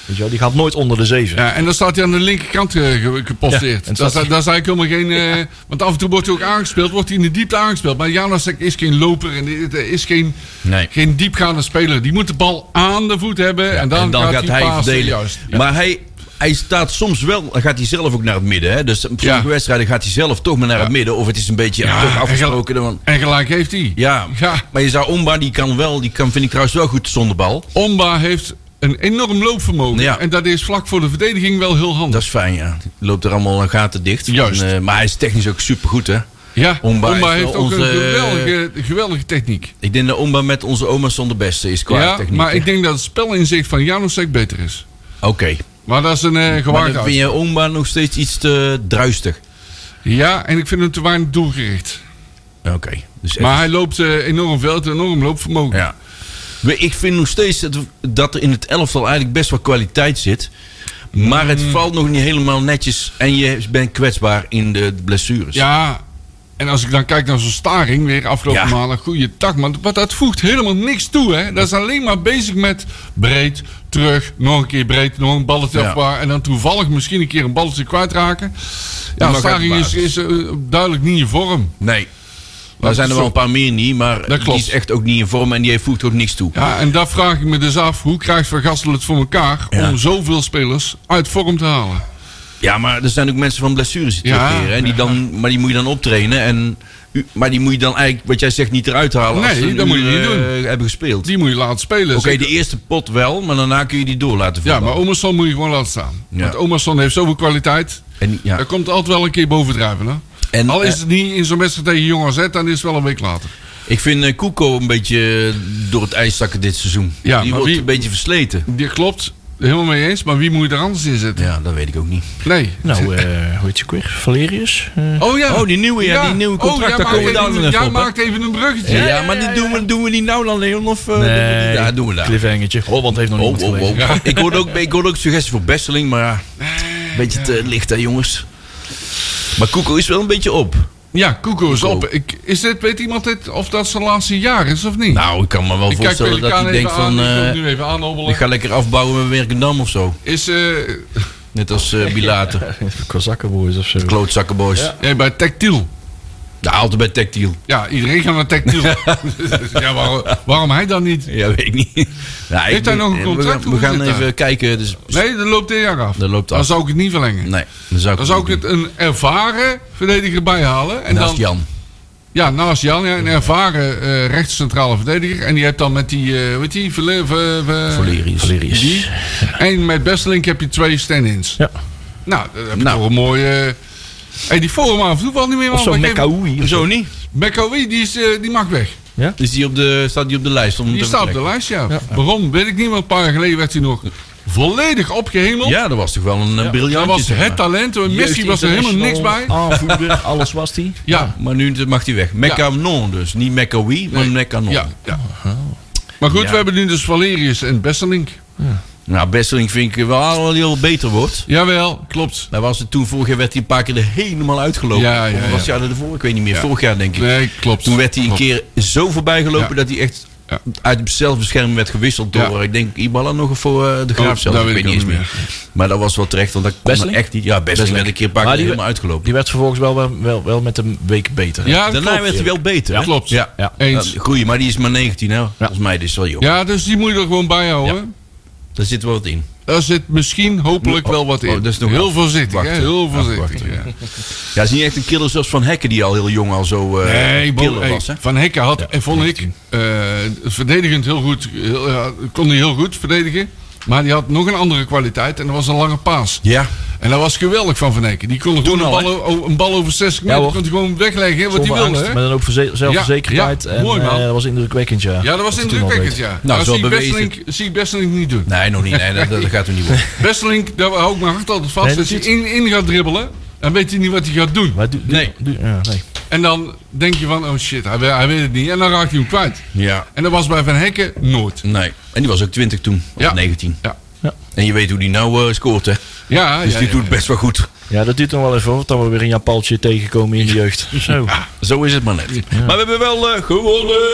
D: Weet je wel, die gaat nooit onder de 7.
C: Ja, en dan staat hij aan de linkerkant eh, ge-
D: Ja, en
C: geposteerd. daar,
D: staat-
C: sta- daar sta ik helemaal geen... eh, Want af en toe wordt hij ook aangespeeld. Wordt hij in de diepte aangespeeld. Maar Janosek is geen loper. En dit- eh, is geen,
B: Nee.
C: geen diepgaande speler. Die moet de bal aan de voet hebben. en, dan gaat, hij pasen,
B: verdelen.
C: Juist.
B: Maar hij, hij staat soms wel, dan gaat hij zelf ook naar het midden. Hè? Dus op sommige
C: Ja.
B: wedstrijden gaat hij zelf toch maar naar het midden. Of het is een beetje
C: Ja,
B: toch
C: en
B: afgesproken.
C: gel-
B: dan-
C: En gelijk heeft hij.
B: ja.
C: Ja.
B: maar je zou Omba, die kan wel, die kan, vind ik trouwens wel goed zonder bal.
C: Omba heeft een enorm loopvermogen.
B: Ja.
C: En dat is vlak voor de verdediging wel heel handig.
B: Dat is fijn, ja. Loopt er allemaal gaten dicht.
C: Juist.
B: En, eh, maar hij is technisch ook supergoed, hè.
C: ja,
B: Omba
C: Omba,
B: is wel
C: heeft ook
B: onze- eh,
C: een geweldige, geweldige techniek.
B: Ik denk dat Omba met onze oma's de beste is qua
C: Ja,
B: techniek.
C: maar ik
B: hè.
C: denk dat het spelinzicht van Janosek beter is.
B: Oké.
C: Maar dat is een eh
B: Maar
C: gewaagde
B: dan vind
C: uitspraak.
B: je Omba nog steeds iets te druistig.
C: Ja, en ik vind hem te weinig doelgericht.
B: Oké. Dus
C: Maar hij loopt eh, enorm veel, het enorm loopvermogen.
B: Ja. We- Ik vind nog steeds dat, dat er in het elftal eigenlijk best wel kwaliteit zit. Maar het
C: Mm.
B: valt nog niet helemaal netjes. En je bent kwetsbaar in de blessures.
C: Ja, en als ik dan kijk naar zo'n staring, weer afgelopen
B: Ja.
C: maanden, goede tak, man. Maar dat voegt helemaal niks toe, hè? Dat is alleen maar bezig met breed, terug, nog een keer breed, nog een balletje
B: Ja.
C: afwaar. En dan toevallig misschien een keer een balletje kwijtraken.
B: maar
C: Ja,
B: gaat
C: staring
B: het
C: is, is eh, duidelijk niet je vorm.
B: Nee. Daar zijn er wel een paar meer niet. Maar
C: Dat
B: die
C: klopt.
B: is echt ook niet in vorm. En die heeft- voegt ook niks toe.
C: Ja, en daar vraag ik me dus af, hoe krijgt Van Gastel het voor elkaar
B: Ja.
C: om zoveel spelers uit vorm te halen?
B: Ja, maar er zijn ook mensen van blessures die
C: Ja.
B: terugkeren. En die dan, maar die moet je dan optrainen. En, u- maar die moet je dan eigenlijk, wat jij zegt, niet eruit halen. als
C: Nee,
B: ze een
C: dat moet je
B: uur,
C: niet
B: eh, Hebben gespeeld.
C: Die moet je laten spelen.
B: Oké,
C: Zeker-
B: de eerste pot wel. Maar daarna kun je die door laten
C: ja,
B: voetballen.
C: maar Omerson moet je gewoon laten staan.
B: Ja.
C: Want Omerson heeft zoveel kwaliteit.
B: En, ja.
C: Er komt altijd wel een keer bovendrijven, hè?
B: En,
C: Al
B: eh,
C: is het niet in zo'n wedstrijd tegen Jong AZ, dan is het wel een week later.
B: Ik vind eh, Kuko een beetje eh, door het ijs zakken dit seizoen.
C: Ja,
B: die
C: maar
B: wordt
C: wie-
B: een beetje versleten.
C: Die klopt, helemaal mee eens, maar wie moet je er anders in zetten?
B: Ja, dat weet ik ook niet.
C: Nee.
D: Nou, eh hoe heet je ook weer? Valerius? Eh,
C: Oh ja.
B: Oh, die nieuwe, ja, die nieuwe contract, daar
C: maakt
B: komen we
C: even-
B: daar nog
C: Jij
B: op, hè?
C: maakt even een bruggetje.
B: Ja, maar die Doen, we, doen we die nou dan, Leon? Of, eh, doen we
D: nee,
B: die- ja, doen we dat.
D: Cliffhangertje. Holland heeft nog
B: Oh,
D: niet
B: oh, oh. Ik hoorde ook, ik hoorde ook suggesties voor Besseling, maar ja, een beetje te licht hè, jongens. Maar Kuko is wel een beetje op.
C: Ja, Koeko is op. Ik, is dit, weet iemand dit, of dat zijn laatste jaar is of niet?
B: Nou, ik kan me wel
C: ik kijk
B: voorstellen dat
C: Pelikaan
B: hij
C: even
B: denkt
C: aan,
B: van...
C: ik wil
B: eh,
C: het nu even aanhobbelen.
B: ik ga lekker afbouwen met Werkendam of zo.
C: Is, eh,
B: Net als eh Bilater.
D: Kozakkenboys of zo.
B: Klootzakkenboys. Ja.
C: nee, bij Tactiel.
B: Nou, altijd bij Tactiel.
C: Ja, iedereen gaat naar Tactiel. ja, waarom, waarom hij dan niet?
B: Ja, weet ik niet. Nou, ik-
C: Heeft hij nog een
B: we
C: contract?
B: gaan- We
C: Hoe
B: gaan,
C: zit dat?
B: even kijken. Dus,
C: Nee, dat loopt dit jaar af.
B: Dat loopt
C: dan
B: af. Nou,
C: zou ik het niet verlengen.
B: Nee, dan zou ik,
C: Dan zou ik
B: niet
C: het een ervaren verdediger bijhalen. En
B: doen. Naast
C: dan,
B: Jan.
C: Ja, naast Jan. Ja, een ervaren eh rechtscentrale verdediger. En die hebt dan met die, eh weet die, Verle- Ver- Ver-
B: Valerius.
D: Valerius.
C: En met Bestelink heb je twee stand-ins.
D: Ja.
C: Nou, dan heb je
B: Nou.
C: toch een mooie... eh, hey, die forum af en toe valt niet meer
D: Of zo,
C: maar ik geef-
D: Mekaoui. of
B: Oh, Zo niet?
C: Mekaoui, die, is, eh, die mag weg.
B: Is die op de, staat die op de lijst? Om
C: Die
B: te
C: staat op de
B: vertrekken?
C: lijst, ja. Waarom? Weet ik niet, maar een paar jaar geleden werd hij nog volledig opgehemeld.
B: Ja, dat was toch wel een eh, briljantje.
C: Dat was
B: zeg
C: het
B: maar.
C: talent. Messi was er helemaal niks bij.
D: Aanvoerder, alles was die.
C: Ja,
B: Maar nu mag hij weg. Meccanon dus. Niet Meccaoui, maar
C: Nee.
B: Meccanon.
C: ja, ja. Maar goed,
B: Ja.
C: we hebben nu dus Valerius en Besselink.
B: Nou, Besseling vind ik wel dat hij heel beter wordt.
C: Jawel, klopt.
B: Daar was het toen vorig jaar werd hij een paar keer er helemaal uitgelopen.
C: Ja, ja,
B: Of was
C: ja.
B: het jaar ervoor? Ik weet niet meer. Vorig jaar denk ik.
C: Nee, klopt.
B: Toen werd hij een
C: Klopt.
B: keer zo voorbij gelopen
C: Ja.
B: dat hij echt
C: Ja.
B: uit zelfbescherming werd gewisseld door,
C: Ja. Oh,
B: ik denk, Ibala nog of voor eh, de Graaf
C: dat
B: zelf. Ik
C: weet
B: weet
C: ik
B: niet
C: ook
B: eens
C: niet
B: meer. Maar dat was wel terecht, want dat kon
D: Besseling?
B: echt niet. Ja, Besseling werd een keer een paar
D: Maar
B: keer
D: die-
B: helemaal uitgelopen.
D: Die werd vervolgens wel, wel, wel, wel met een week beter. hè?
C: Ja, dat
B: Daarna
C: klopt.
B: werd hij wel beter.
C: Ja,
B: hè?
C: klopt.
B: Ja.
D: Ja.
C: Eens.
B: Ja, Goeie, maar die is maar 19, hè? Volgens mij, dit is wel jong.
C: Ja, dus die moet je er gewoon bij houden.
B: Daar zit wel wat in.
C: Daar zit misschien hopelijk wel wat in.
B: oh, dat is nog
C: heel
B: af-
C: voorzichtig, hè?
B: wachten.
C: Heel voorzichtig.
B: Afwachten.
C: Ja.
B: Ja, het is niet echt een killer zoals Van Hekken, die al heel jong al zo eh
C: Nee, Bo-
B: killer
C: hey,
B: was. Hè?
C: Van Hekken had, en vond ik, eh, verdedigend heel goed, heel, ja, kon hij heel goed verdedigen. Maar die had nog een andere kwaliteit en dat was een lange paas.
B: Ja.
C: En dat was geweldig van Van Hekken. Die kon er gewoon een
B: al,
C: bal, o- een bal over 60 meter
D: hoor.
C: kon hij gewoon wegleggen, wat hij
D: Zonder
C: wilde.
D: angst,
C: hè?
D: maar dan ook verze- zelfverzekerdheid.
C: ja,
D: en,
C: mooi, man.
D: eh, dat was indrukwekkend, ja.
C: Ja, dat was
D: hij toen al
C: indrukwekkend,
D: deed.
C: ja.
B: Nou,
C: dat
B: zo
C: zie ik
B: bewezen.
C: Besselink, zie ik Besselink niet doen.
B: Nee, nog niet. Nee, dat, dat gaat er niet worden.
C: Besselink, daar hou ik mijn hart altijd vast.
D: Nee, dat
C: als hij
D: is
C: in, in gaat dribbelen, dan weet hij niet wat hij gaat doen.
D: Maar doe- doe-
B: Nee.
D: doe- ja, nee.
C: En dan denk je van, oh shit, hij, weet- hij weet het niet. En dan raakt hij hem kwijt.
B: Ja.
C: En dat was bij Van Hekken nooit.
B: Nee. En die was ook 20 toen. Of
C: Ja.
B: 19.
C: Ja,
B: En je weet hoe die nou eh, scoort, hè?
C: ja,
B: Dus
C: ja,
B: die
C: ja.
B: doet best wel goed.
D: Ja, dat duurt nog wel even, hoor, dat we weer een Japaltje tegenkomen in de jeugd. nou Zo.
B: Zo is het maar net. Maar we hebben wel eh, gewonnen!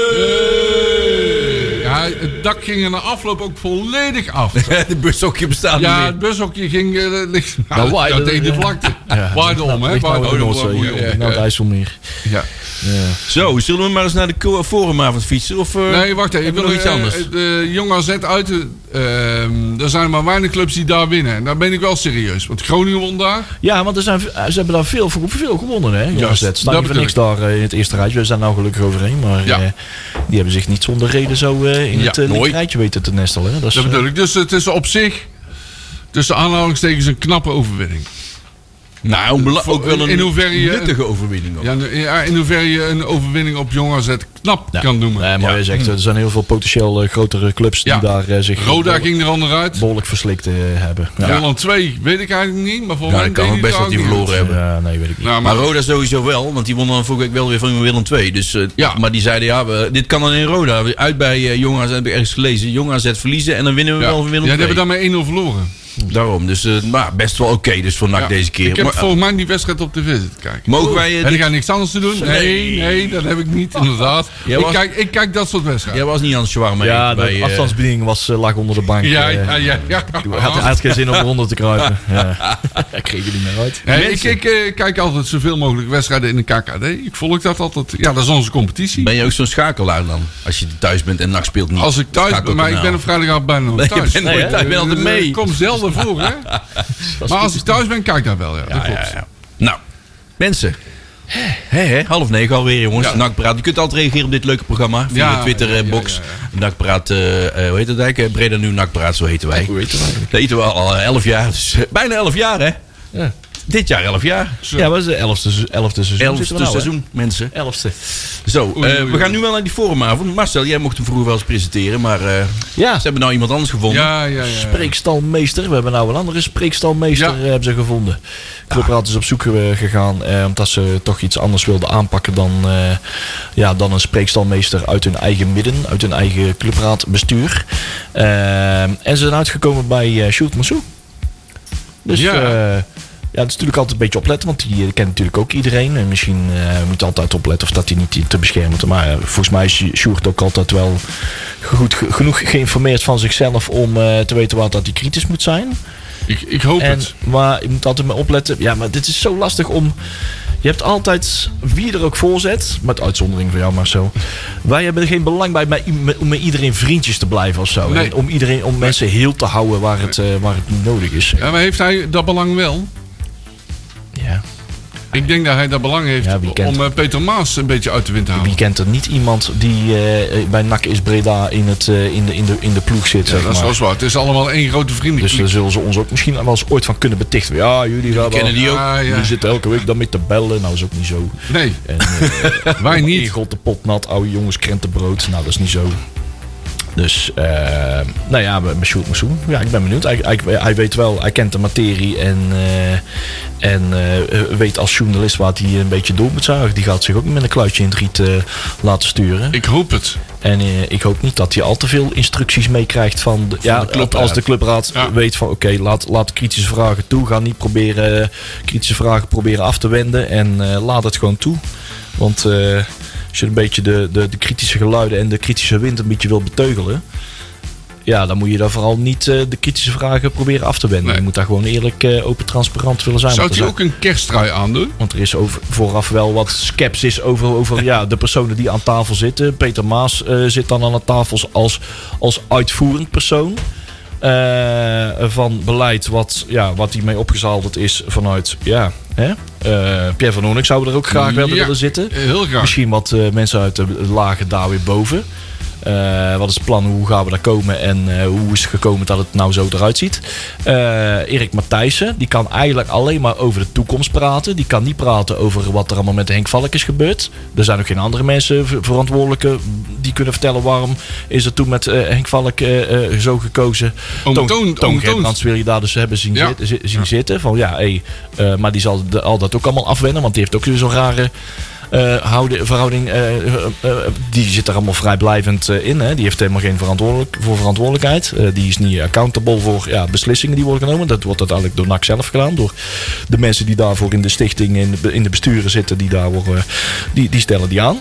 C: Ja, het dak ging in de afloop ook volledig af.
B: De bushokje bestaat
C: Ja,
B: niet
C: het bushokje ging eh, ligt nou,
D: Nou, waaide-
C: dat tegen de vlakte.
D: Ja,
C: Waaide om, hè?
D: Ligt nou
C: Waaide
D: in de
C: om. eh,
D: Noordzee,
C: waaide om.
D: ja, nou het IJsselmeer.
C: Ja.
B: meer. Zo, zullen we maar eens naar de ko- forumavond fietsen? Of, eh,
C: Nee, wacht even.
B: hebben we nog iets
C: Eh,
B: anders?
C: eh, De Jong AZ uit. eh, ehm, er zijn maar weinig clubs die daar winnen. En daar ben ik wel serieus. Want Groningen won daar.
D: Ja, want er zijn, eh, ze hebben daar veel, voor- veel gewonnen, hè? Ja,
C: Juist,
D: ze staan
C: dat
D: niet voor niks daar eh, in het eerste rijtje. We zijn nou gelukkig overheen, maar
C: Ja.
D: eh, die hebben zich niet zonder reden zo eh, in
C: Ja,
D: het eh,
C: mooi.
D: rijtje weten te nestelen. Hè? Dat is,
C: Dat
D: eh,
C: bedoel ik. Dus het is op zich. Tussen aanhalingstekens een knappe overwinning.
B: nou, bela-
C: voor-
B: ook wel een
C: in hoeverre je-
B: nuttige overwinning. ook.
C: Ja, in- ja, in hoeverre je een overwinning op Jong AZ knap
D: ja.
C: kan noemen.
D: Nee, maar je zegt, er zijn heel veel potentieel eh, grotere clubs
C: Ja.
D: die daar eh, zich
C: Roda
D: behoorlijk-
C: ging er onderuit.
D: behoorlijk verslikt eh, hebben. Ja.
C: Holland 2 weet ik eigenlijk niet. Maar volgens
B: Ja,
C: mij
B: dat kan
C: deed
B: ook
C: hij
B: best
C: het
B: dat die
C: ook niet
B: verloren
C: goed.
B: hebben.
D: Ja, nee, weet ik niet.
C: Nou,
B: Maar
C: maar
B: Roda sowieso wel, want die won dan vorige week wel weer van Willem II. Dus, eh,
C: Ja.
B: Maar die zeiden, ja, we- dit kan dan in Roda. Uit bij eh, Jong AZ, heb ik ergens gelezen. Jong AZ verliezen en dan winnen we
C: Ja,
B: wel van
C: ja,
B: Willem
C: die
B: II.
C: hebben daarmee 1-0 verloren.
B: Daarom, dus eh, maar best wel oké dus voor NAC
C: Ja,
B: deze keer.
C: Ik heb
B: Maar,
C: volgens mij die wedstrijd op tv zitten kijken.
B: Mogen wij, eh,
C: Heb
B: dit-
C: ik aan niks anders te doen? Nee,
B: Nee.
C: nee, dat heb ik niet, inderdaad.
B: Jij
C: ik,
B: was-
C: kijk, ik kijk dat soort
B: eh,
C: wedstrijden.
B: jij was niet aan het shawarma
D: Ja,
B: eten
D: de
B: bij... eh,
D: afstandsbediening was, eh, lag onder de bank.
C: Ja,
D: eh.
C: ja, ja. ja.
D: Hij had, hij had geen zin om eronder te kruipen. Ja. Ik kreeg er niet meer uit.
C: Nee, ik ik, eh, kijk altijd zoveel mogelijk wedstrijden in de KKD. Ik volg dat altijd. Ja, dat is onze competitie.
B: ben je ook zo'n schakelaar dan? Als je thuis bent en NAC speelt niet.
C: Als ik thuis
B: Schakel
C: ben, maar ik
B: kanaal.
C: ben op vrijdagavond bijna nog
B: Nee, nou- je
C: thuis.
B: bent nooit
C: Eh,
B: thuis, je bent altijd mee.
C: Ik kom zelden voor, hè. Maar als ik thuis ben, kijk daar wel, ja. Dat
B: Ja,
C: klopt.
B: ja, ja. Nou, mensen. Hè, hè, half negen alweer, jongens.
C: Ja.
B: NAC Praat. Je kunt altijd reageren op dit leuke programma. Via
C: Ja,
B: de
C: ja, ja,
B: Twitter-box.
C: ja,
B: NAC Praat, eh, eh, hoe heet het eigenlijk? Eh, Breda Nu NAC Praat, zo heten wij.
D: Hoe weten wij?
B: Dat heten we al eh, elf jaar. Dus, eh, bijna elf jaar, hè?
D: Ja.
B: Dit jaar elf jaar.
D: Ja, was de elfde, se- elfde seizoen.
B: Elfde
D: zitten we nou, hè?
B: seizoen, mensen.
D: Elfde.
B: Zo,
C: Oei,
B: eh,
C: oei,
B: we gaan
C: oei.
B: nu wel naar die forumavond. Marcel, jij mocht hem vroeger wel eens presenteren, maar eh,
D: Ja.
B: ze hebben nou iemand anders gevonden.
C: Ja, ja, ja.
D: Spreekstalmeester. We hebben nou een andere spreekstalmeester
C: Ja.
D: eh, hebben ze gevonden. Clubraad is op zoek eh, gegaan eh, omdat ze toch iets anders wilden aanpakken dan, eh, ja, dan een spreekstalmeester uit hun eigen midden, uit hun eigen clubraadbestuur. Eh, en ze zijn uitgekomen bij eh Sjoerd Massou. Dus
C: Ja.
D: ja. ja, dat is natuurlijk altijd een beetje opletten, want die eh, kent natuurlijk ook iedereen. En misschien eh, moet je altijd opletten of dat hij niet te beschermen is. Maar eh, volgens mij is Sjoerd ook altijd wel goed, ge- genoeg geïnformeerd van zichzelf om eh, te weten waar dat hij kritisch moet zijn.
C: Ik, ik hoop
D: En,
C: het.
D: maar je moet altijd maar opletten. Ja, maar dit is zo lastig om. Je hebt altijd, wie er ook voor zet, met uitzondering van jou maar zo. Wij hebben er geen belang bij met- met- om met iedereen vriendjes te blijven of zo.
C: Nee.
D: En om iedereen, om mensen heel te houden waar het, eh, waar het niet nodig is.
C: Ja, maar heeft hij dat belang wel?
D: Ja.
C: Ik denk dat hij dat belang heeft
D: Ja, wie kent
C: om eh, Peter Maas een beetje uit de wind te
D: Wie
C: houden.
D: kent er niet iemand die eh, bij NAC is Breda in, het, eh, in, de, in, de, in de ploeg zit?
C: Ja,
D: zeg
C: dat is
D: maar.
C: wel zwaar. Het is allemaal één grote vriendenkring.
D: Dus daar zullen ze ons ook misschien wel eens ooit van kunnen betichten. Ja, jullie hebben
B: kennen die ook.
C: Ah, ja.
D: Jullie zitten elke week dan met te bellen. Nou, is ook niet zo.
C: Nee,
D: En, eh,
C: Wij niet.
D: Egel de pot nat, oude jongens, krentenbrood. Nou, dat is niet zo. Dus, eh, nou ja, met met Sjoerd Massoen. Ja, ik ben benieuwd. Hij, hij, hij weet wel, hij kent de materie en, eh, en eh, weet als journalist wat hij een beetje door moet zuigen. Die gaat zich ook niet met een kluitje in het riet eh, laten sturen.
C: ik hoop het.
D: En eh, ik hoop niet dat hij al te veel instructies meekrijgt van, de, ja,
B: de clubraad.
D: als de clubraad
C: Ja.
D: weet van oké, laat, laat kritische vragen toe. Ga niet proberen eh, kritische vragen proberen af te wenden en eh, laat het gewoon toe. Want eh, als je een beetje de, de, de kritische geluiden en de kritische wind een beetje wil beteugelen. Ja, dan moet je daar vooral niet eh, de kritische vragen proberen af te wenden.
C: Nee.
D: Je moet daar gewoon eerlijk, eh, open, transparant willen zijn.
C: Zou
D: Want er
C: hij
D: zijn-
C: ook een kersttrui aandoen?
D: want er is over, vooraf wel wat sceptisch over, over ja, de personen die aan tafel zitten. Peter Maas eh, zit dan aan de tafels als, als uitvoerend persoon. Eh, eh, van beleid wat, ja, wat hiermee opgezadeld is vanuit ja, hè? Eh, Pierre van Oornik zouden er ook graag wel
C: Ja,
D: willen zitten.
C: Heel graag.
D: Misschien wat eh, mensen uit de lagen daar weer boven. Eh, wat is het plan? Hoe gaan we daar komen? En eh, hoe is het gekomen dat het nou zo eruit ziet? Eh, Erik Matthijssen, die kan eigenlijk alleen maar over de toekomst praten. Die kan niet praten over wat er allemaal met Henk Valk is gebeurd. Er zijn ook geen andere mensen ver- verantwoordelijke die kunnen vertellen waarom is er toen met eh, Henk Valk eh, eh, zo gekozen.
C: Om
D: Toon-
C: Toon- om
D: Toon
C: Toon-
D: Gerbrands wil je daar dus hebben zien,
C: Ja.
D: zitten zi- zien zitten. Van ja, hé, eh, maar die zal de- al dat ook allemaal afwennen. Want die heeft ook weer zo'n rare eh, houden, verhouding. eh, eh, eh, die zit er allemaal vrijblijvend eh, in. Hè. Die heeft helemaal geen verantwoordelijk, voor verantwoordelijkheid. Eh, die is niet accountable voor ja, beslissingen die worden genomen. Dat wordt uiteindelijk door NAC zelf gedaan. Door de mensen die daarvoor in de stichting, in de, be- in de besturen zitten. Die, daar worden, die, die stellen die aan.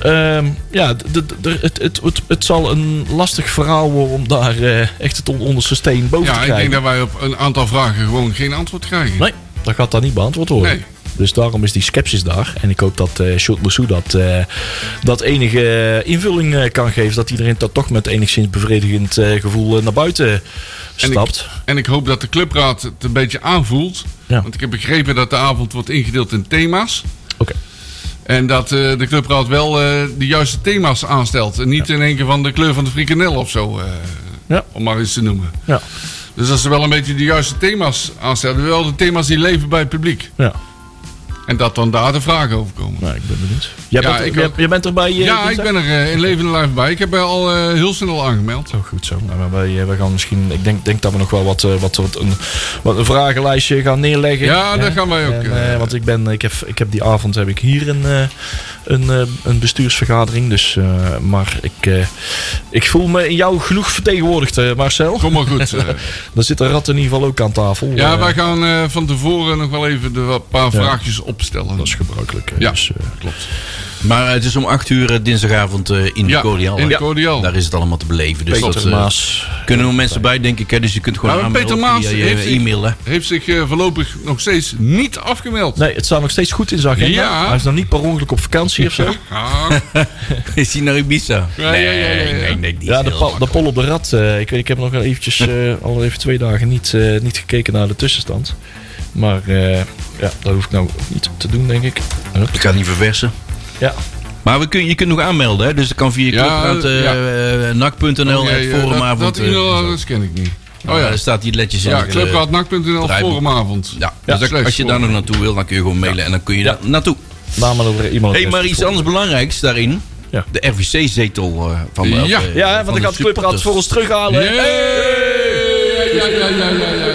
D: Ehm, ja, d- d- d- er- het, het, het, het zal een lastig verhaal worden om daar eh, echt het on- onderste steen boven te
C: Ja, ik
D: krijgen.
C: denk dat wij op een aantal vragen gewoon geen antwoord krijgen.
D: Nee, dat gaat dan niet beantwoord worden.
C: Nee.
D: Dus daarom is die sceptisch daar. En ik hoop dat eh Sjoerd Moussou dat, eh, dat enige invulling eh, kan geven. Dat iedereen dat toch met enigszins bevredigend eh, gevoel eh, naar buiten
C: En ik-
D: stapt.
C: En ik hoop dat de clubraad het een beetje aanvoelt.
D: Ja.
C: Want ik heb begrepen dat de avond wordt ingedeeld in thema's.
D: Oké.
C: En dat eh, de clubraad wel eh, de juiste thema's aanstelt. En niet in één keer van de kleur van de frikandel of zo. eh,
D: Ja.
C: Om maar eens te noemen.
D: Ja.
C: Dus dat ze wel een beetje de juiste thema's aanstellen. Wel de thema's die leven bij het publiek.
D: ja.
C: En dat dan daar de vragen over komen.
D: Nou, ik ben benieuwd. Jij
C: Ja,
D: bent,
C: ik
D: jij-
C: ook.
D: jij bent erbij? eh,
C: ja, ik
D: dinsdag?
C: ben er eh, in levende lijf bij. Ik heb er al eh, heel snel aangemeld.
D: Zo goed zo. Nou, maar wij, eh, wij gaan misschien, ik denk, denk dat we nog wel wat, eh, wat, wat, een, wat een vragenlijstje gaan neerleggen.
C: Ja,
D: Hè?
C: dat gaan wij ook.
D: En,
C: eh,
D: eh, want ik, ben, ik, heb, ik heb die avond heb ik hier een, eh, een, eh, een bestuursvergadering. Dus, eh, maar ik, eh, ik voel me in jou genoeg vertegenwoordigd, eh, Marcel.
C: Kom maar goed. eh.
D: Dan zit de rat in ieder geval ook aan tafel.
C: ja,
D: Eh,
C: wij gaan eh, van tevoren nog wel even de wat paar vraagjes opstellen.
D: Dat is gebruikelijk. eh,
C: Ja.
D: Dus, eh,
C: klopt.
B: Maar eh, het is om 8 uur eh, dinsdagavond eh, in
C: Ja,
B: de Cordial.
C: in de
B: hè?
C: Cordial.
B: Daar is het allemaal te beleven. Dus
D: Peter
B: dat eh,
D: Maas.
B: kunnen we mensen bij, denk ik. Hè? Dus je kunt gewoon
C: Nou, maar
B: aanmelden
C: Peter Maas
B: via
C: heeft
B: je eh,
C: zich-
B: e-mail. hè.
C: Heeft zich eh, voorlopig nog steeds niet afgemeld.
D: Nee, het staat nog steeds goed in zijn agenda.
C: Ja.
D: Hij is nog niet per ongeluk op vakantie of zo.
C: Ah,
B: Is hij naar Ibiza?
C: Ja, ja, ja, ja, ja.
B: ik denk niet.
D: Ja, de,
B: Heel
D: pal- de
B: makkelijk.
D: pol op de rat. eh, ik, weet, ik heb nog wel eventjes, eh, al even twee dagen niet, eh, niet gekeken naar de tussenstand. Maar eh, ja, dat hoef ik nou niet te doen, denk ik. Hup.
B: Ik ga het niet verversen.
D: Ja,
B: Maar we kun, je kunt nog aanmelden, hè? dus dat kan via
C: Ja,
B: clubraad, eh, eh, nak.nl,
C: oké,
B: het
C: eh,
B: forumavond.
C: Dat, dat
B: eh,
C: e-mailadres ken ik niet. Oh ja,
B: Daar staat die letjes in.
C: ja
B: het, eh,
C: clubraadnak.nl
B: draaiboek.
C: forumavond.
B: ja. dus dat-
C: Slechts
B: als je daar nog
C: forum.
B: naartoe wil, dan kun je gewoon mailen en dan kun je
D: Ja.
B: daar naartoe.
D: namelijk over iemand.
B: hey, maar iets anders belangrijks daarin.
D: Ja.
B: De RVC-zetel eh, van de
C: Ja.
B: eh,
D: Ja, hè,
B: van
D: want ik
B: de
D: had de clubraad
B: supporters.
D: voor ons terughalen.
C: Yeah! Ja, ja, ja, ja, ja, ja,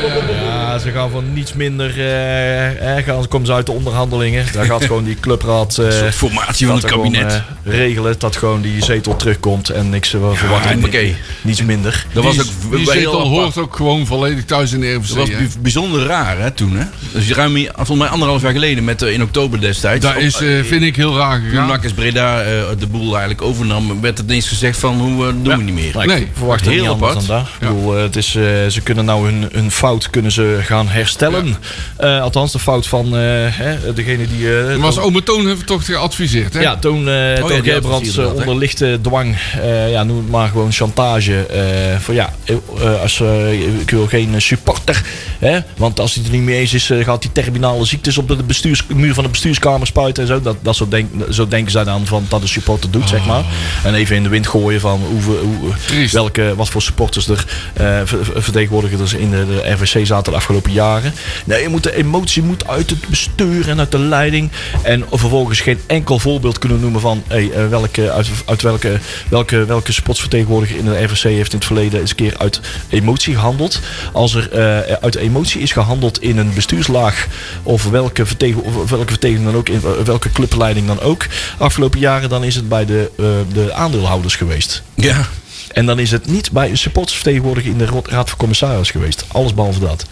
C: ja.
D: Ja, ze gaan voor niets minder. eh, eh, gaan, komen ze uit de onderhandelingen. Daar gaat gewoon die clubraad. eh,
B: Een soort formatie van
D: gaat
B: het
D: er gewoon,
B: kabinet.
D: eh, regelen dat gewoon die zetel terugkomt en niks eh, verwacht.
B: en
D: ik.
B: oké.
D: Niets minder.
B: dat was
C: Die,
B: ook
C: die
B: bij heel
C: zetel
B: apart.
C: hoort ook gewoon volledig thuis in de RVC.
B: Dat was
C: hè?
B: bij- bijzonder raar hè, toen. Hè? Dus ruim, hier- volgens mij anderhalf jaar geleden, met, eh, in oktober destijds.
C: Daar is, eh, vind ik, heel raar
B: Toen
C: gegaan.
B: Nakkes Breda eh, de boel eigenlijk overnam, werd het ineens gezegd van hoe eh, doen we niet meer.
D: Maar ik
C: Nee,
D: verwacht het
B: heel
D: niet anders
B: apart.
D: dan daar. Ik bedoel, eh, het is, eh, ze kunnen nou hun, hun fout kunnen ze gaan herstellen. Eh, althans, de fout van eh, hè, degene die... eh,
C: Er was Ome Toon heeft het toch geadviseerd, hè?
D: ja, toen eh
B: Oh had
D: Toon
B: het
D: Gerbrands
B: inderdaad,
D: eh,
B: hè?
D: onder lichte dwang, eh, ja, noem het maar gewoon chantage. eh, van ja, eh, eh, als, eh, ik wil geen eh, supporter. Hè, want als hij het er niet mee eens is, eh, gaat hij terminale ziektes op de de bestuurs, muur van de bestuurskamer spuiten en zo. Dat, dat zo, denk, zo denken zij dan van dat een supporter doet,
B: Ah.
D: zeg maar. En even in de wind gooien van hoeveel, hoe,
C: Triest.
D: welke, wat voor supporters er eh, ver- ver- vertegenwoordigers in de, de RVC zaten de afgelopen jaren. Nee, je moet, de emotie moet uit het bestuur en uit de leiding. En vervolgens geen enkel voorbeeld kunnen noemen van hey, eh, welke, uit, uit welke, welke, welke sportsvertegenwoordiger in de RVC heeft in het verleden eens een keer uit emotie gehandeld. Als er eh, uit emotie is gehandeld in een bestuurslaag of welke vertegen, of welke vertegen dan ook, in eh, welke clubleiding dan ook, afgelopen jaren, dan is het bij de, eh, de aandeelhouders geweest.
B: Ja.
D: En dan is het niet bij een supportersvertegenwoordiger in de ro- Raad van Commissaris geweest. Alles behalve dat.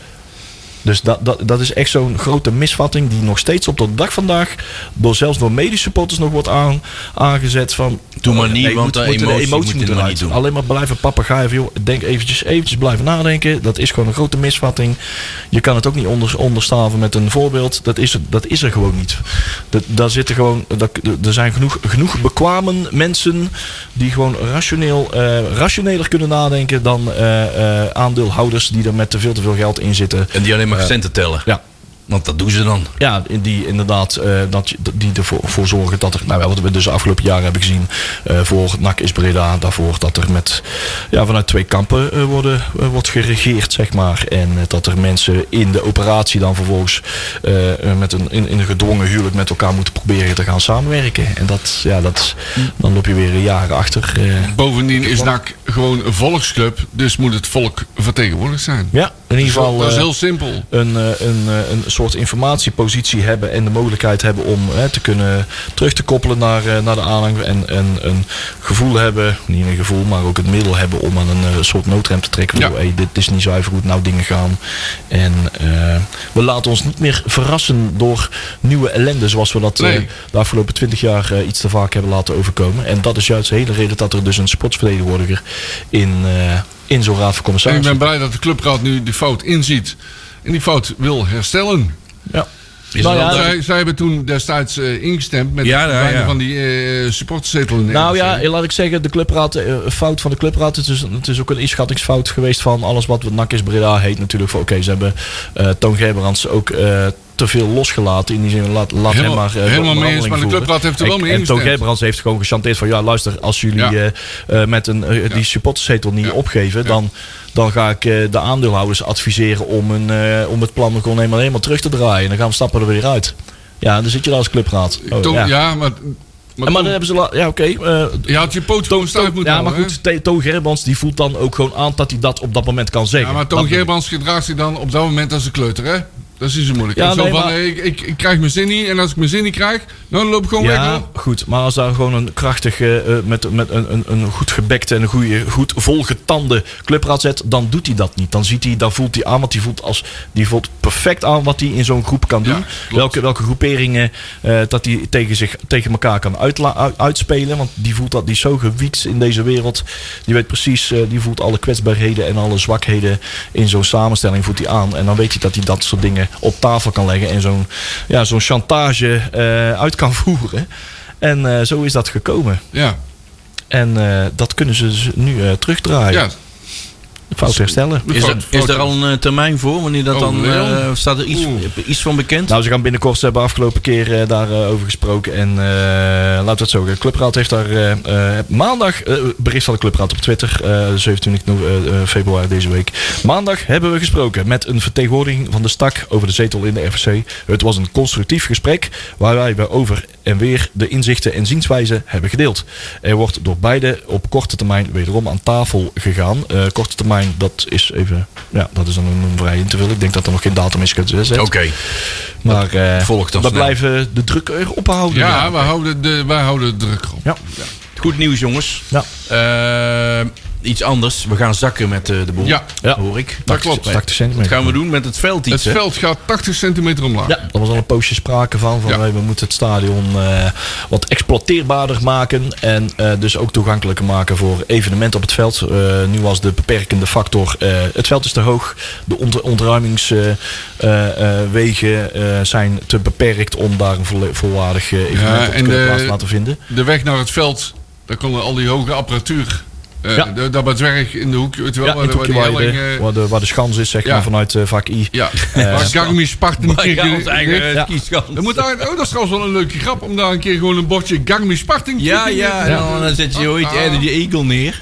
D: Dus dat, dat, dat is echt zo'n grote misvatting die nog steeds op tot de dag vandaag, door, zelfs door medische supporters nog wordt aan, aangezet van... oh,
B: Doe maar niet,
D: Nee,
B: want
D: moet-
B: de
D: moet-
B: emotie moet je
D: moet
B: er maar
D: eruit.
B: niet doen.
D: Alleen maar blijven papegaaien van, joh, denk eventjes, eventjes blijven nadenken. Dat is gewoon een grote misvatting. Je kan het ook niet onder, onderstaven met een voorbeeld. Dat is, dat is er gewoon niet. Dat, daar zitten gewoon, dat, er zijn genoeg, genoeg bekwamen mensen die gewoon rationeel, eh, rationeler kunnen nadenken dan eh, eh, aandeelhouders die er met te veel te veel geld in zitten.
B: En die alleen maar centen tellen.
D: Ja,
B: Want dat doen ze dan.
D: ja, in die inderdaad, eh, dat, je- dat- die ervoor voor zorgen dat er, nou ja, wat we dus de afgelopen jaren hebben gezien eh, voor NAC is Breda, daarvoor dat er met, ja, vanuit twee kampen eh, worden, eh, wordt geregeerd, zeg maar. En eh, dat er mensen in de operatie dan vervolgens eh, eh, met een, in, in een gedwongen huwelijk met elkaar moeten proberen te gaan samenwerken. En dat, ja, dat, is- dan loop je weer jaren achter. eh.
C: Bovendien is NAC gewoon een volksclub, dus moet het volk vertegenwoordigd zijn.
D: ja, in ieder geval.
C: Dus dat is
D: eh,
C: heel simpel.
D: een, eh, een, eh, een soort informatiepositie hebben en de mogelijkheid hebben om hè, te kunnen terug te koppelen naar, eh, naar de aanhang. En, en een gevoel hebben, niet een gevoel, maar ook het middel hebben om aan een eh, soort noodrem te trekken.
C: Ja.
D: Van, hey, dit is niet zuiver hoe het nou dingen gaan. En eh, we laten ons niet meer verrassen door nieuwe ellende zoals we dat eh,
C: Nee.
D: de afgelopen twintig jaar eh, iets te vaak hebben laten overkomen. En dat is juist de hele reden dat er dus een sportsvertegenwoordiger in, eh, in zo'n raad van
C: En ik
D: commissarissen
C: ben blij dat de clubraad nu die fout inziet en die fout wil herstellen.
D: Ja.
B: Is
D: Nou
B: er
D: ja,
B: wel-
C: Zij, zij hebben toen destijds eh, ingestemd met
B: Ja,
C: het
B: ja,
C: verdwijnen
B: ja.
C: van die eh supportzetel.
D: Nou ja, laat ik zeggen, de clubraad, eh, fout van de clubraad. Het is, het is ook een inschattingsfout geweest van alles wat NAC is Breda heet natuurlijk. Van Oké, ze hebben eh, Toon Gerbrands ook eh, te veel losgelaten. In die zin, laat,
C: Helemaal-
D: laat hem maar
C: helemaal mee
D: eh,
C: eens,
D: onderhandeling
C: maar de
D: voeren.
C: clubraad heeft er wel
D: En-
C: mee
D: En Toon
C: ingestemd.
D: Gerbrands heeft gewoon gechanteerd van... Ja, luister, als jullie
C: Ja.
D: eh, eh, met een, eh, die supporterszetel niet
C: Ja.
D: opgeven... Dan, dan ga ik eh, de aandeelhouders adviseren om, een, eh, om het plan gewoon helemaal, helemaal terug te draaien. En dan gaan we stappen er weer uit. Ja, dan zit je daar als clubraad. Oh,
C: Toon, ja. maar,
D: ja.
C: maar,
D: En maar
C: Toon,
D: dan hebben ze... la- Ja, oké. eh,
C: je had je poot
D: Toon,
C: gewoon stijf
D: Toon-
C: moeten
D: ja, maar
C: houden, hè?
D: goed, Te- Toon Gerbrands die voelt dan ook gewoon aan dat hij dat op dat moment kan zeggen.
C: Ja, maar
D: Dat
C: Toon
D: bedoel ik.
C: Gerbrands gedraagt zich dan op dat moment als een kleuter, hè? Dat is niet zo moeilijk.
D: Ja,
C: Zo
D: nee,
C: van,
D: maar-
C: eh, ik, ik, ik krijg mijn zin niet en als ik mijn zin niet krijg, nou, dan loop ik gewoon weg.
D: Ja,
C: hoor.
D: goed. Maar als daar gewoon een krachtige, eh, met, met een, een, een goed gebekte en een goede, goed volgetande clubraad zet, dan doet hij dat niet. Dan, ziet hij, dan voelt hij aan, want hij voelt, als, die voelt perfect aan wat hij in zo'n groep kan
C: Ja,
D: doen.
C: klopt.
D: welke, welke groeperingen eh, dat hij tegen, zich, tegen elkaar kan uitla- u- uitspelen. Want die voelt dat, die is zo gewiekt in deze wereld. Die weet precies, eh, die voelt alle kwetsbaarheden en alle zwakheden in zo'n samenstelling voelt hij aan. En dan weet hij dat hij dat soort dingen op tafel kan leggen en zo'n ja, zo'n chantage eh, uit kan voeren. En eh, zo is dat gekomen.
C: Ja,
D: En eh, dat kunnen ze dus nu eh, terugdraaien.
C: ja.
D: Fout herstellen.
B: Is er,
C: Fout-
B: is
C: fout-
B: er al een eh, termijn voor? Wanneer dat
C: Oh,
B: dan... eh,
C: Leon.
B: staat er iets, iets van bekend?
D: Nou, ze gaan binnenkort, ze hebben afgelopen keer eh, daarover gesproken. En eh, laten we het zo zeggen. Clubraad heeft daar eh, eh, maandag, eh, bericht van de Clubraad op Twitter, eh 27 no- eh, eh, februari deze week. Maandag hebben we gesproken met een vertegenwoordiging van de stak over de zetel in de RVC. Het was een constructief gesprek waar wij bij over en weer de inzichten en zienswijzen hebben gedeeld. Er wordt door beide op korte termijn wederom aan tafel gegaan. Eh, korte termijn, dat is even, ja, dat is dan een vrij in te vullen. Ik denk dat er nog geen datum is gezet.
B: Oké.
D: Maar eh,
B: volgt dan
D: we
B: snel.
D: blijven de druk erop houden.
C: ja wij, houden de, wij houden de druk op.
D: Ja.
B: Goed nieuws, jongens.
D: Ja.
B: Eh, iets anders. We gaan zakken met eh, de boel.
C: Ja.
D: Ja.
B: Hoor ik.
C: Dat klopt.
D: Stak de
B: Wat
D: centimeter.
B: gaan we doen met het veld
C: Het
B: iets, hè?
C: veld gaat 80 centimeter omlaag.
D: Ja, er was al een poosje sprake van. van
C: Ja.
D: hey, we moeten het stadion eh, wat exploiteerbaarder maken. En eh, dus ook toegankelijker maken voor evenementen op het veld. Eh, nu was de beperkende factor. eh, het veld is te hoog. De ontruimingswegen eh, zijn te beperkt om daar een volle- volwaardig eh,
C: Ja,
D: evenement op te
C: en
D: kunnen
C: de-
D: plaats laten vinden.
C: De weg naar het veld, daar kon al die hoge apparatuur. eh
D: Ja.
C: de- Daar bij Zwerg in de hoek, weet je wel,
D: Ja,
C: waar,
D: in
C: de- waar die
D: Toekie waar,
C: helling,
D: de-
C: eh,
D: waar de- waar de schans is, zeg
C: Ja.
D: maar, vanuit eh, vak I.
C: Ja, waar Garmin Spartan...
B: Maar ja, ons eigen eh,
D: Ja.
B: kieskant.
C: Er moet daar, oh, dat is trouwens wel een leuke grap om daar een keer gewoon een bordje Garmin Spartan
B: Ja, ja, en dan, eh, zet je ooit eerder die eagle neer.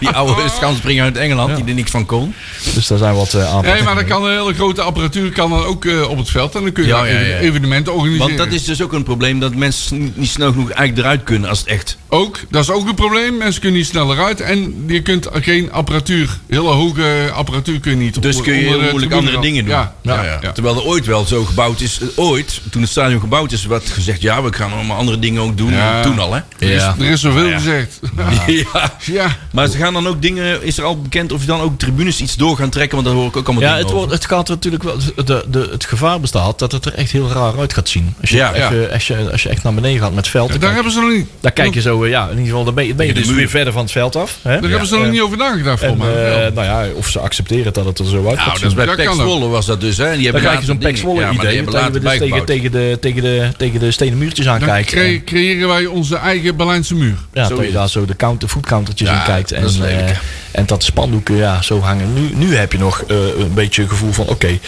B: Die oude schanspringer uit Engeland, die er niks van kon.
D: Dus daar zijn wat eh aanpassingen.
C: Nee, maar dan kan een hele grote apparatuur kan dan ook eh, op het veld. En dan kun je
B: Ja,
C: daar
B: ja, ja.
C: even- evenementen organiseren.
B: Want dat is dus ook een probleem, dat mensen niet snel genoeg eigenlijk eruit kunnen als het echt...
C: Ook, dat is ook een probleem. Mensen kunnen niet sneller uit. En en je kunt geen apparatuur, hele hoge apparatuur kun je niet
B: Dus kun je
C: onder
B: heel
C: de
B: moeilijk
C: tribune
B: andere
C: dan.
B: dingen doen.
C: Ja, ja, ja.
B: Terwijl er ooit wel zo gebouwd is. eh, Ooit, toen het stadion gebouwd is, werd gezegd: ja, we gaan allemaal andere dingen ook doen.
C: Ja.
B: Toen al, hè?
D: Ja.
C: Er is zoveel gezegd.
B: ja.
C: ja.
B: Maar ze gaan dan ook dingen. Is er al bekend of je dan ook tribunes iets door gaan trekken? Want daar hoor ik ook allemaal
D: Ja,
B: dingen
D: het, wordt, het gaat er natuurlijk wel. De, de, het gevaar bestaat dat het er echt heel raar uit gaat zien. Als je,
B: Ja.
D: als je, als je, als je echt naar beneden gaat met het veld,
C: Ja,
D: dan,
C: Daar
D: kijk,
C: hebben ze nog niet,
D: dan kijk je zo, eh, ja, in ieder geval, dan ben je, ben je
B: Tegen de muur.
D: dus weer verder van het veld af. Hè?
C: daar hebben ze nog niet over nagedacht,
D: En,
C: voor mij.
D: eh,
C: Wel.
D: nou ja, of ze accepteren dat het er zo uit gaat
B: Nou,
D: zien.
B: dat is bij
C: Dat
B: Pek
C: kan ook.
B: Zwolle was dat dus. Hè? Die
D: Dan
B: hebben
D: krijg je zo'n
B: later
D: Pek
B: dingen-
D: Zwolle
B: ja, maar die
D: idee.
B: hebben
D: Dat
B: later
D: je dus tegen,
B: bijgebouwd.
D: tegen, de, tegen, de, tegen de stenen muurtjes
C: Dan
D: aankijkt.
C: cre-
D: En,
C: creëren wij onze eigen Berlijnse muur.
D: ja,
B: zo
D: dat
B: is
D: je daar zo de counter, voetcountertjes
B: Ja,
D: in kijkt. En
B: dat is
D: eh,
B: lelijk, hè.
D: en dat spandoeken ja, zo hangen. Nu, nu heb je nog eh, een beetje het gevoel van oké.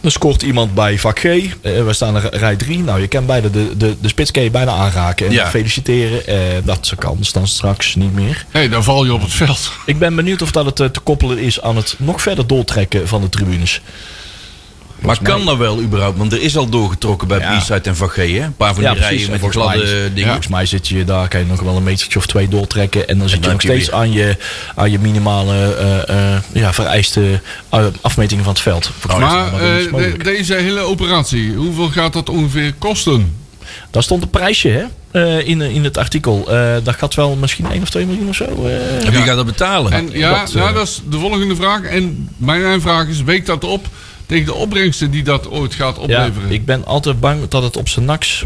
D: dan scoort iemand bij vak G. Eh, we staan in rij 3. Nou, je kan bijna de, de, de spits kan je bijna aanraken. En
B: Ja.
D: feliciteren. Eh, dat kan dan straks niet meer.
C: Hé, dan val je op het veld.
D: Ik ben benieuwd of dat het eh, te koppelen is aan het nog verder doortrekken van de tribunes.
B: Maar kan dat wel überhaupt? Want er is al doorgetrokken bij
D: Ja.
B: Priestside en Van G. Hè? Een paar van die
D: precies.
B: rijen
D: En
B: met die
D: volgens mij is-
B: gladde dingen.
D: Volgens mij zit je daar, kan je nog wel een metertje of twee doortrekken. En dan zit
B: dan
D: je nog
B: heb je
D: steeds aan je, aan je minimale eh, eh, ja, vereiste eh, afmetingen van het veld. Volgens mij is Oh,
C: Maar
D: dat nog wel eens
C: eh, de-
D: mogelijk.
C: deze hele operatie, hoeveel gaat dat ongeveer kosten?
D: Daar stond een prijsje hè? eh, in, in het artikel. Eh, dat gaat wel misschien 1 of 2 miljoen of zo. eh.
B: En wie gaat dat betalen?
C: En ja,
D: dat, eh,
C: nou, dat is de volgende vraag. En mijn vraag is, weekt dat op tegen de opbrengsten die dat ooit gaat
D: ja,
C: opleveren?
D: ik ben altijd bang dat het op zijn naks...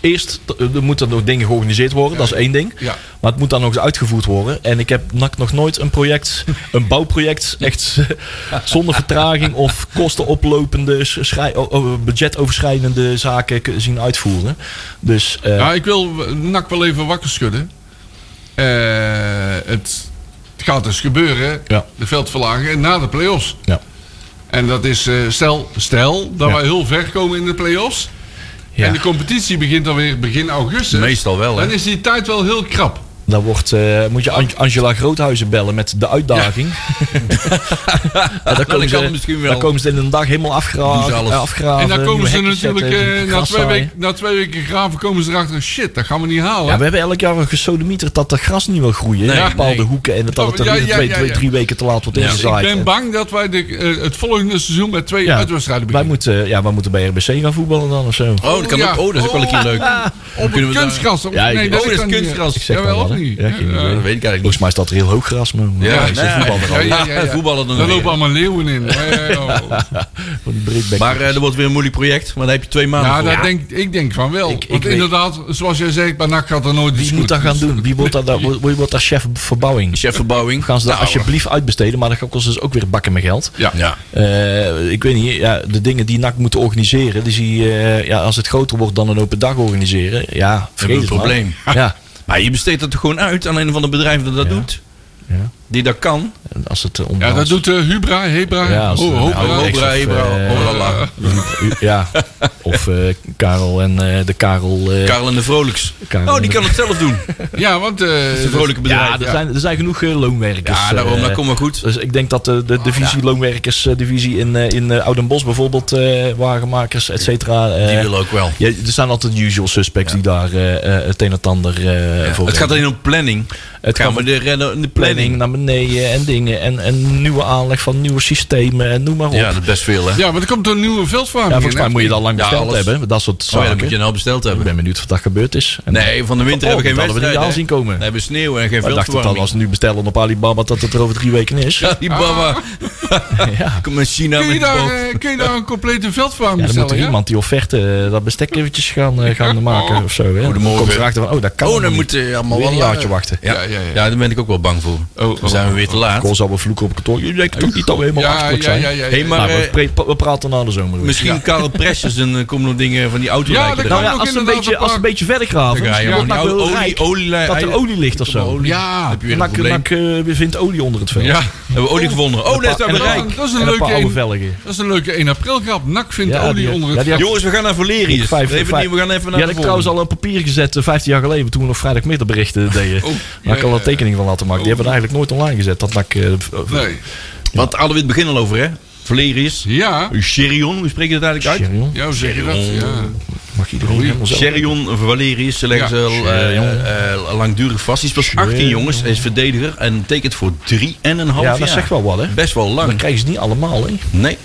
D: Eerst t- er moeten nog dingen georganiseerd worden, dat is één ding.
C: Ja.
D: Maar het moet dan nog eens uitgevoerd worden. En ik heb NAC nog nooit een project, een bouwproject, echt zonder vertraging of kostenoplopende, s- schrij- o- o- budgetoverschrijdende zaken k- zien uitvoeren. Dus eh,
C: Ja, ik wil Nak wel even wakker schudden. Eh, het, het gaat dus gebeuren,
D: Ja.
C: de veldverlaging, na de play-offs.
D: Ja.
C: En dat is, eh, stel, stel dat
D: Ja.
C: wij heel ver komen in de play-offs.
D: ja,
C: En de competitie begint alweer begin augustus.
B: Meestal wel, hè?
C: Dan is die tijd wel heel krap.
D: dan wordt, eh, moet je An- Angela Groothuizen bellen met de uitdaging. Ja.
B: kan
D: dan, komen ze,
B: misschien wel.
D: dan komen ze in een dag helemaal
B: Doen ze
D: afgraven.
B: alles.
D: eh, afgraven
C: en dan komen
D: nieuwe
C: ze
D: hekjes
C: natuurlijk
D: zetten,
C: eh, na,
D: gras
C: twee
D: zaaien.
C: week, na twee weken graven komen ze erachter. Shit, dat gaan we niet halen.
D: Ja, we hebben elk jaar een gesodemieter dat de gras niet wil groeien in
C: Nee,
D: bepaalde
C: nee. Oh,
D: hoeken. En dat dat het er
C: Ja,
D: weer
C: ja,
D: twee,
C: ja,
D: twee,
C: ja.
D: drie weken te laat wordt
B: Ja.
C: Dus ik
D: ingezaaid.
C: ben
D: En-
C: bang dat wij de, eh, het volgende seizoen met twee
D: Ja,
C: uitwedstrijden
D: wij
C: beginnen.
D: moeten ja, wij moeten bij RBC gaan voetballen dan of zo.
B: Oh, dat kan
C: Ja.
B: ook. Oh, dat is ook wel een keer leuk.
C: Op
B: Kunnen
C: het
B: we daar-
C: kunstgras. of-
D: Ja, ik-
C: nee, dat
B: Oh, dat is
C: kan niet.
B: kunstgras. Ik
D: zeg
C: Jawel,
D: maar
C: of
D: wat, hè?
C: niet?
D: Ja, geen idee.
B: Ja, dat weet ik eigenlijk
D: Volgens
B: niet.
D: mij staat er heel hoog gras, maar
B: Ja,
D: ja, is
B: nee.
D: voetbal er al.
C: Ja, ja, ja, ja.
B: Voetballen dan
C: Daar
B: weer.
C: lopen allemaal leeuwen in. Ja, ja, ja.
D: Voor die breedback.
B: Maar eh, dat wordt weer een moeilijk project. Maar daar heb je twee maanden
C: Ja,
B: voor.
C: dat denk, ik denk van wel.
D: Ik- ik
C: Want
D: weet-
C: inderdaad, zoals jij zegt, bij NAC gaat er nooit iets
D: Wie moet
C: goed.
D: dat gaan doen? Wie wordt daar, daar- wie wordt daar chef verbouwing?
B: Chef verbouwing.
D: Gaan ze dat
B: Nou,
D: alsjeblieft uitbesteden, maar dat kost dus ook weer bakken met geld.
C: Ja.
B: Ja.
D: Eh, ik weet niet, ja, de dingen die NAC moet organiseren, die zie je, eh, ja, als het groter wordt dan een open dag organiseren, ja,
B: we een
D: vergeet het maar.
B: probleem.
D: Ja,
B: Maar je besteedt dat gewoon uit aan een van de bedrijven dat dat doet.
D: Ja.
B: Die dat kan.
D: En als het eh,
C: Ja, dat
D: onderhands-
C: doet eh, Hubra, Oh, Hebra,
D: Ja, als- nou,
C: Ho-
D: ja,
C: Hobra.
D: Hobra.
B: Hobra,
D: of,
B: Hebra,
D: eh,
B: Holala.
D: U- Ja, of eh, Karel en eh, de Karel. eh,
B: Karel en de Vrolijks.
D: Karel
B: Oh,
D: en
B: die
D: de-
B: kan het zelf doen.
C: Ja, want... eh,
B: Dat is een vrolijke bedrijf.
D: ja, er zijn, er zijn genoeg eh, loonwerkers.
B: Ja, daarom,
D: eh,
B: dat komt wel goed.
D: Dus ik denk dat de,
B: Oh,
D: de divisie, loonwerkersdivisie in, eh, in eh, Oudenbosch bijvoorbeeld, eh, wagenmakers, et cetera. eh,
B: Die willen ook wel.
D: ja, er zijn altijd de usual suspects die daar eh, eh, het een en het ander eh, voor
B: Het gaat
D: hebben.
B: alleen om planning. Het
D: gaat
B: gaan we de, redden- de
D: planning
B: planning.
D: naar beneden en dingen. En, en nieuwe aanleg van nieuwe systemen en noem maar op.
B: Ja,
D: Ja,
B: dat is best veel, hè? Oh,
C: ja, want er komt een nieuwe veldverwarming
D: volgens mij moet je dat lang
B: Ja,
D: besteld
B: alles.
D: hebben. Dat soort
B: Oh ja,
D: zaken.
B: dat moet je nou besteld
D: Ik
B: hebben.
D: ben benieuwd wat dat gebeurd is. En-
B: Nee, van de winter
D: Oh,
B: hebben we geen
D: dat hadden we
B: wedstrijd.
D: niet aan zien komen. Oh,
B: We hebben sneeuw en geen
D: Ik dacht dat
B: veldverwarming.
D: als we nu bestellen op Alibaba dat het er over drie weken is.
B: Ja, die baba.
D: Ja.
B: Kom met Oh, China
C: Kun je,
B: met
C: daar,
B: boot.
C: eh, kun je daar een complete veldverwarming
D: Ja, dan moet
C: bestellen?
D: er iemand die offerte, eh, dat bestek eventjes gaan, eh, gaan maken of zo. Hè.
B: Goedemorgen.
D: Dan komt ze erachter van, oh, dat kan
B: Oh,
D: nog
B: dan
D: niet.
B: moeten we allemaal
D: Weer
B: wel
D: een
B: langer.
D: jaartje wachten.
B: Ja,
C: Ja,
B: ja,
C: ja, ja.
B: daar ben ik ook wel bang voor.
C: Oh,
B: Dan zijn we weer te laat.
D: Kool zal wel vloeken op kantoor. Je denkt toch niet dat we helemaal
C: Ja,
D: achterlijk
C: ja,
D: zijn.
C: ja, ja, ja.
B: Hey, maar,
D: Nou, we,
B: eh,
D: pre- we praten na de zomer. weer.
B: Misschien Karel Precious en dan komen nog dingen van die auto
C: Ja,
B: lijken
C: dat
D: nou
B: eruit.
D: ja,
C: ook
D: als ze een
C: inderdaad
D: beetje,
C: een
D: als ze een
C: paar-
D: beetje verder graven,
B: Dan ga je
D: ja,
B: gewoon
D: wordt NAC
B: die
D: wel
B: nou, olie-
D: rijk
B: olie-
D: dat er olie ligt of zo.
B: Olie.
C: Ja.
B: Heb je weer een
D: NAC,
B: probleem.
D: NAC eh, vindt olie onder het veld.
C: Ja,
B: Hebben we olie gevonden? Oh, nee, zijn we
D: en een
B: rijk.
C: dat is
D: En
C: een
D: een paar
C: leuke
D: oude
C: 1,
D: velgen.
C: dat is een leuke 1 april grap. Nak vindt
D: Ja,
C: olie
D: die-
C: onder
D: ja,
C: het
D: die-
C: vel.
B: Jongens, we gaan naar Valerius.
D: Vijf-
B: even
D: vijf-
B: niet, we gaan even naar de
D: ja, dat ik trouwens
B: volgende.
D: al een papier gezet eh, 15 jaar geleden toen we nog vrijdagmiddag berichten deden.
C: Oh,
D: maar ik
C: ja,
D: al
C: ja,
D: een
C: ja.
D: tekening van laten maken. Die hebben we eigenlijk nooit online gezet. Dat NAC eh, v-
C: Nee.
B: Want hadden we het begin al over, hè? Valerius.
C: Ja,
B: Cherion, hoe spreek je dat eigenlijk uit?
D: Serieus?
C: ja, hoe zeg je dat? Ja.
D: Mag iedereen
C: Oei,
D: helemaal zelf.
B: Cherion Valerius, ze leggen
C: Ja,
B: ze al, eh, eh, langdurig vast. Die speelt 18 jongens, hij is verdediger en tekent voor 3,5 jaar.
D: Ja, dat zegt wel wat, hè?
B: Best wel
D: Dan
B: lang.
D: krijgen ze het niet allemaal, hè?
B: Nee.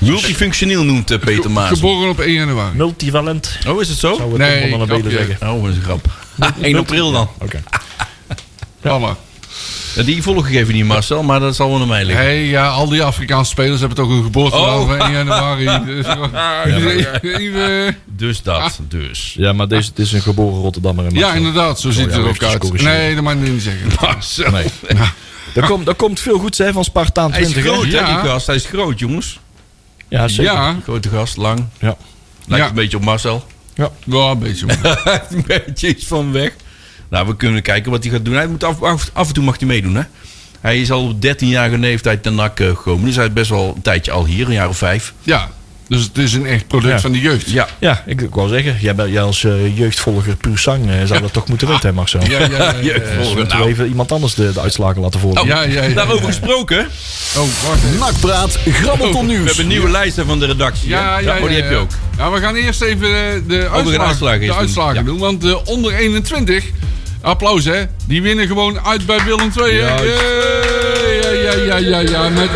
B: Multifunctioneel noemt eh, Peter Maas.
C: Geboren op 1 januari.
D: Multivalent,
B: Oh, is het zo?
D: zou we
C: Nee,
D: nee, dan een
C: grapje.
D: belen zeggen.
B: Oh, dat is een grap. 1 april dan.
D: Oké.
C: Mama.
B: Ja, Die volgegeven niet Marcel, maar dat zal wel naar mij liggen.
C: Hey, ja, al die Afrikaanse spelers hebben toch een geboortedag
B: Oh.
C: van 1 januari. Dus, Even-
B: Dus
C: Ah.
B: dat, dus.
D: Ja, maar deze, dit is een geboren Rotterdammer. en
C: ja,
D: Marcel.
C: inderdaad, zo ziet het
D: ja,
C: er ook
D: eventjes
C: uit.
D: corrigeren.
C: Nee, dat mag je niet zeggen.
B: Marcel.
D: Nee. Er, komt, er komt veel goeds hè, van Spartaan
B: Hij is
D: 20. hè?
B: groot, hè,
C: Ja.
B: die gast. Hij is groot, jongens.
D: Ja, zeker. Ja.
C: Ja,
B: Grote gast, lang.
D: Ja.
B: Lijkt
C: Ja.
B: een beetje op Marcel.
C: wel een beetje. maar.
B: een beetje iets van weg. Nou, we kunnen kijken wat hij gaat doen. Hij moet af, af, af en toe mag hij meedoen, hè? Hij is al op 13-jarige leeftijd ten NAC eh, gekomen. Dus hij is best wel een tijdje al hier, een jaar of vijf.
C: Ja, dus het is een echt product
D: Ja.
C: van de jeugd.
B: Ja.
D: ik, ik wou zeggen, jij, bent, jij als eh, jeugdvolger puur sang eh, zou dat toch moeten weten, hè, Marcel?
C: Ja, ja, ja, ja.
B: Jeugdvolger,
D: Moeten we
B: nou.
D: even iemand anders de, de uitslagen laten volgen?
B: Oh,
C: Ja, ja, ja,
B: Daarover
C: ja.
B: gesproken.
C: Oh, wacht even.
A: Nakpraat, grabbelton
B: We
A: nieuws.
B: hebben een nieuwe lijsten van de redactie. hè?
C: Ja, ja,
B: Oh, die
C: ja,
B: heb je
C: ja.
B: ook. Oh,
C: Ja, we gaan eerst even eh,
B: gaan
C: de uitslagen,
B: uitslagen
C: de
B: eerst doen.
C: uitslagen
B: Ja.
C: doen. Want de onder 21, applaus hè, die winnen gewoon uit bij Willem II. hè.
B: Juist.
C: Yay! Ja, ja, ja, ja, ja, met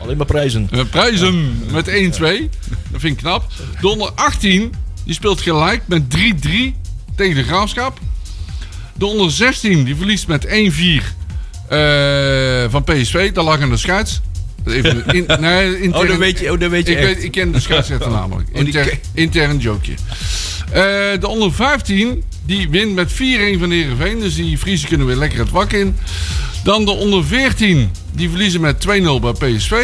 D: Alleen maar prijzen.
C: eh, prijzen met 1-2. Dat vind ik knap. De onder 18, die speelt gelijk met 3-3 tegen de Graafschap. De onder 16, die verliest met 1-4 eh, van PSV. Daar lag aan de scheids. Even in, nee,
B: Oh,
C: intern-
B: dat weet je, oh, dat weet je
C: ik,
B: echt.
C: weet, ik ken de scheidsrechter namelijk.
B: Oh, die
C: Inter,
B: ken-
C: Intern jokeje. Eh, de onder 15, die wint met 4-1 van Heerenveen. Dus die Friese kunnen weer lekker het wak in. Dan de onder 14, die verliezen met 2-0 bij PSV.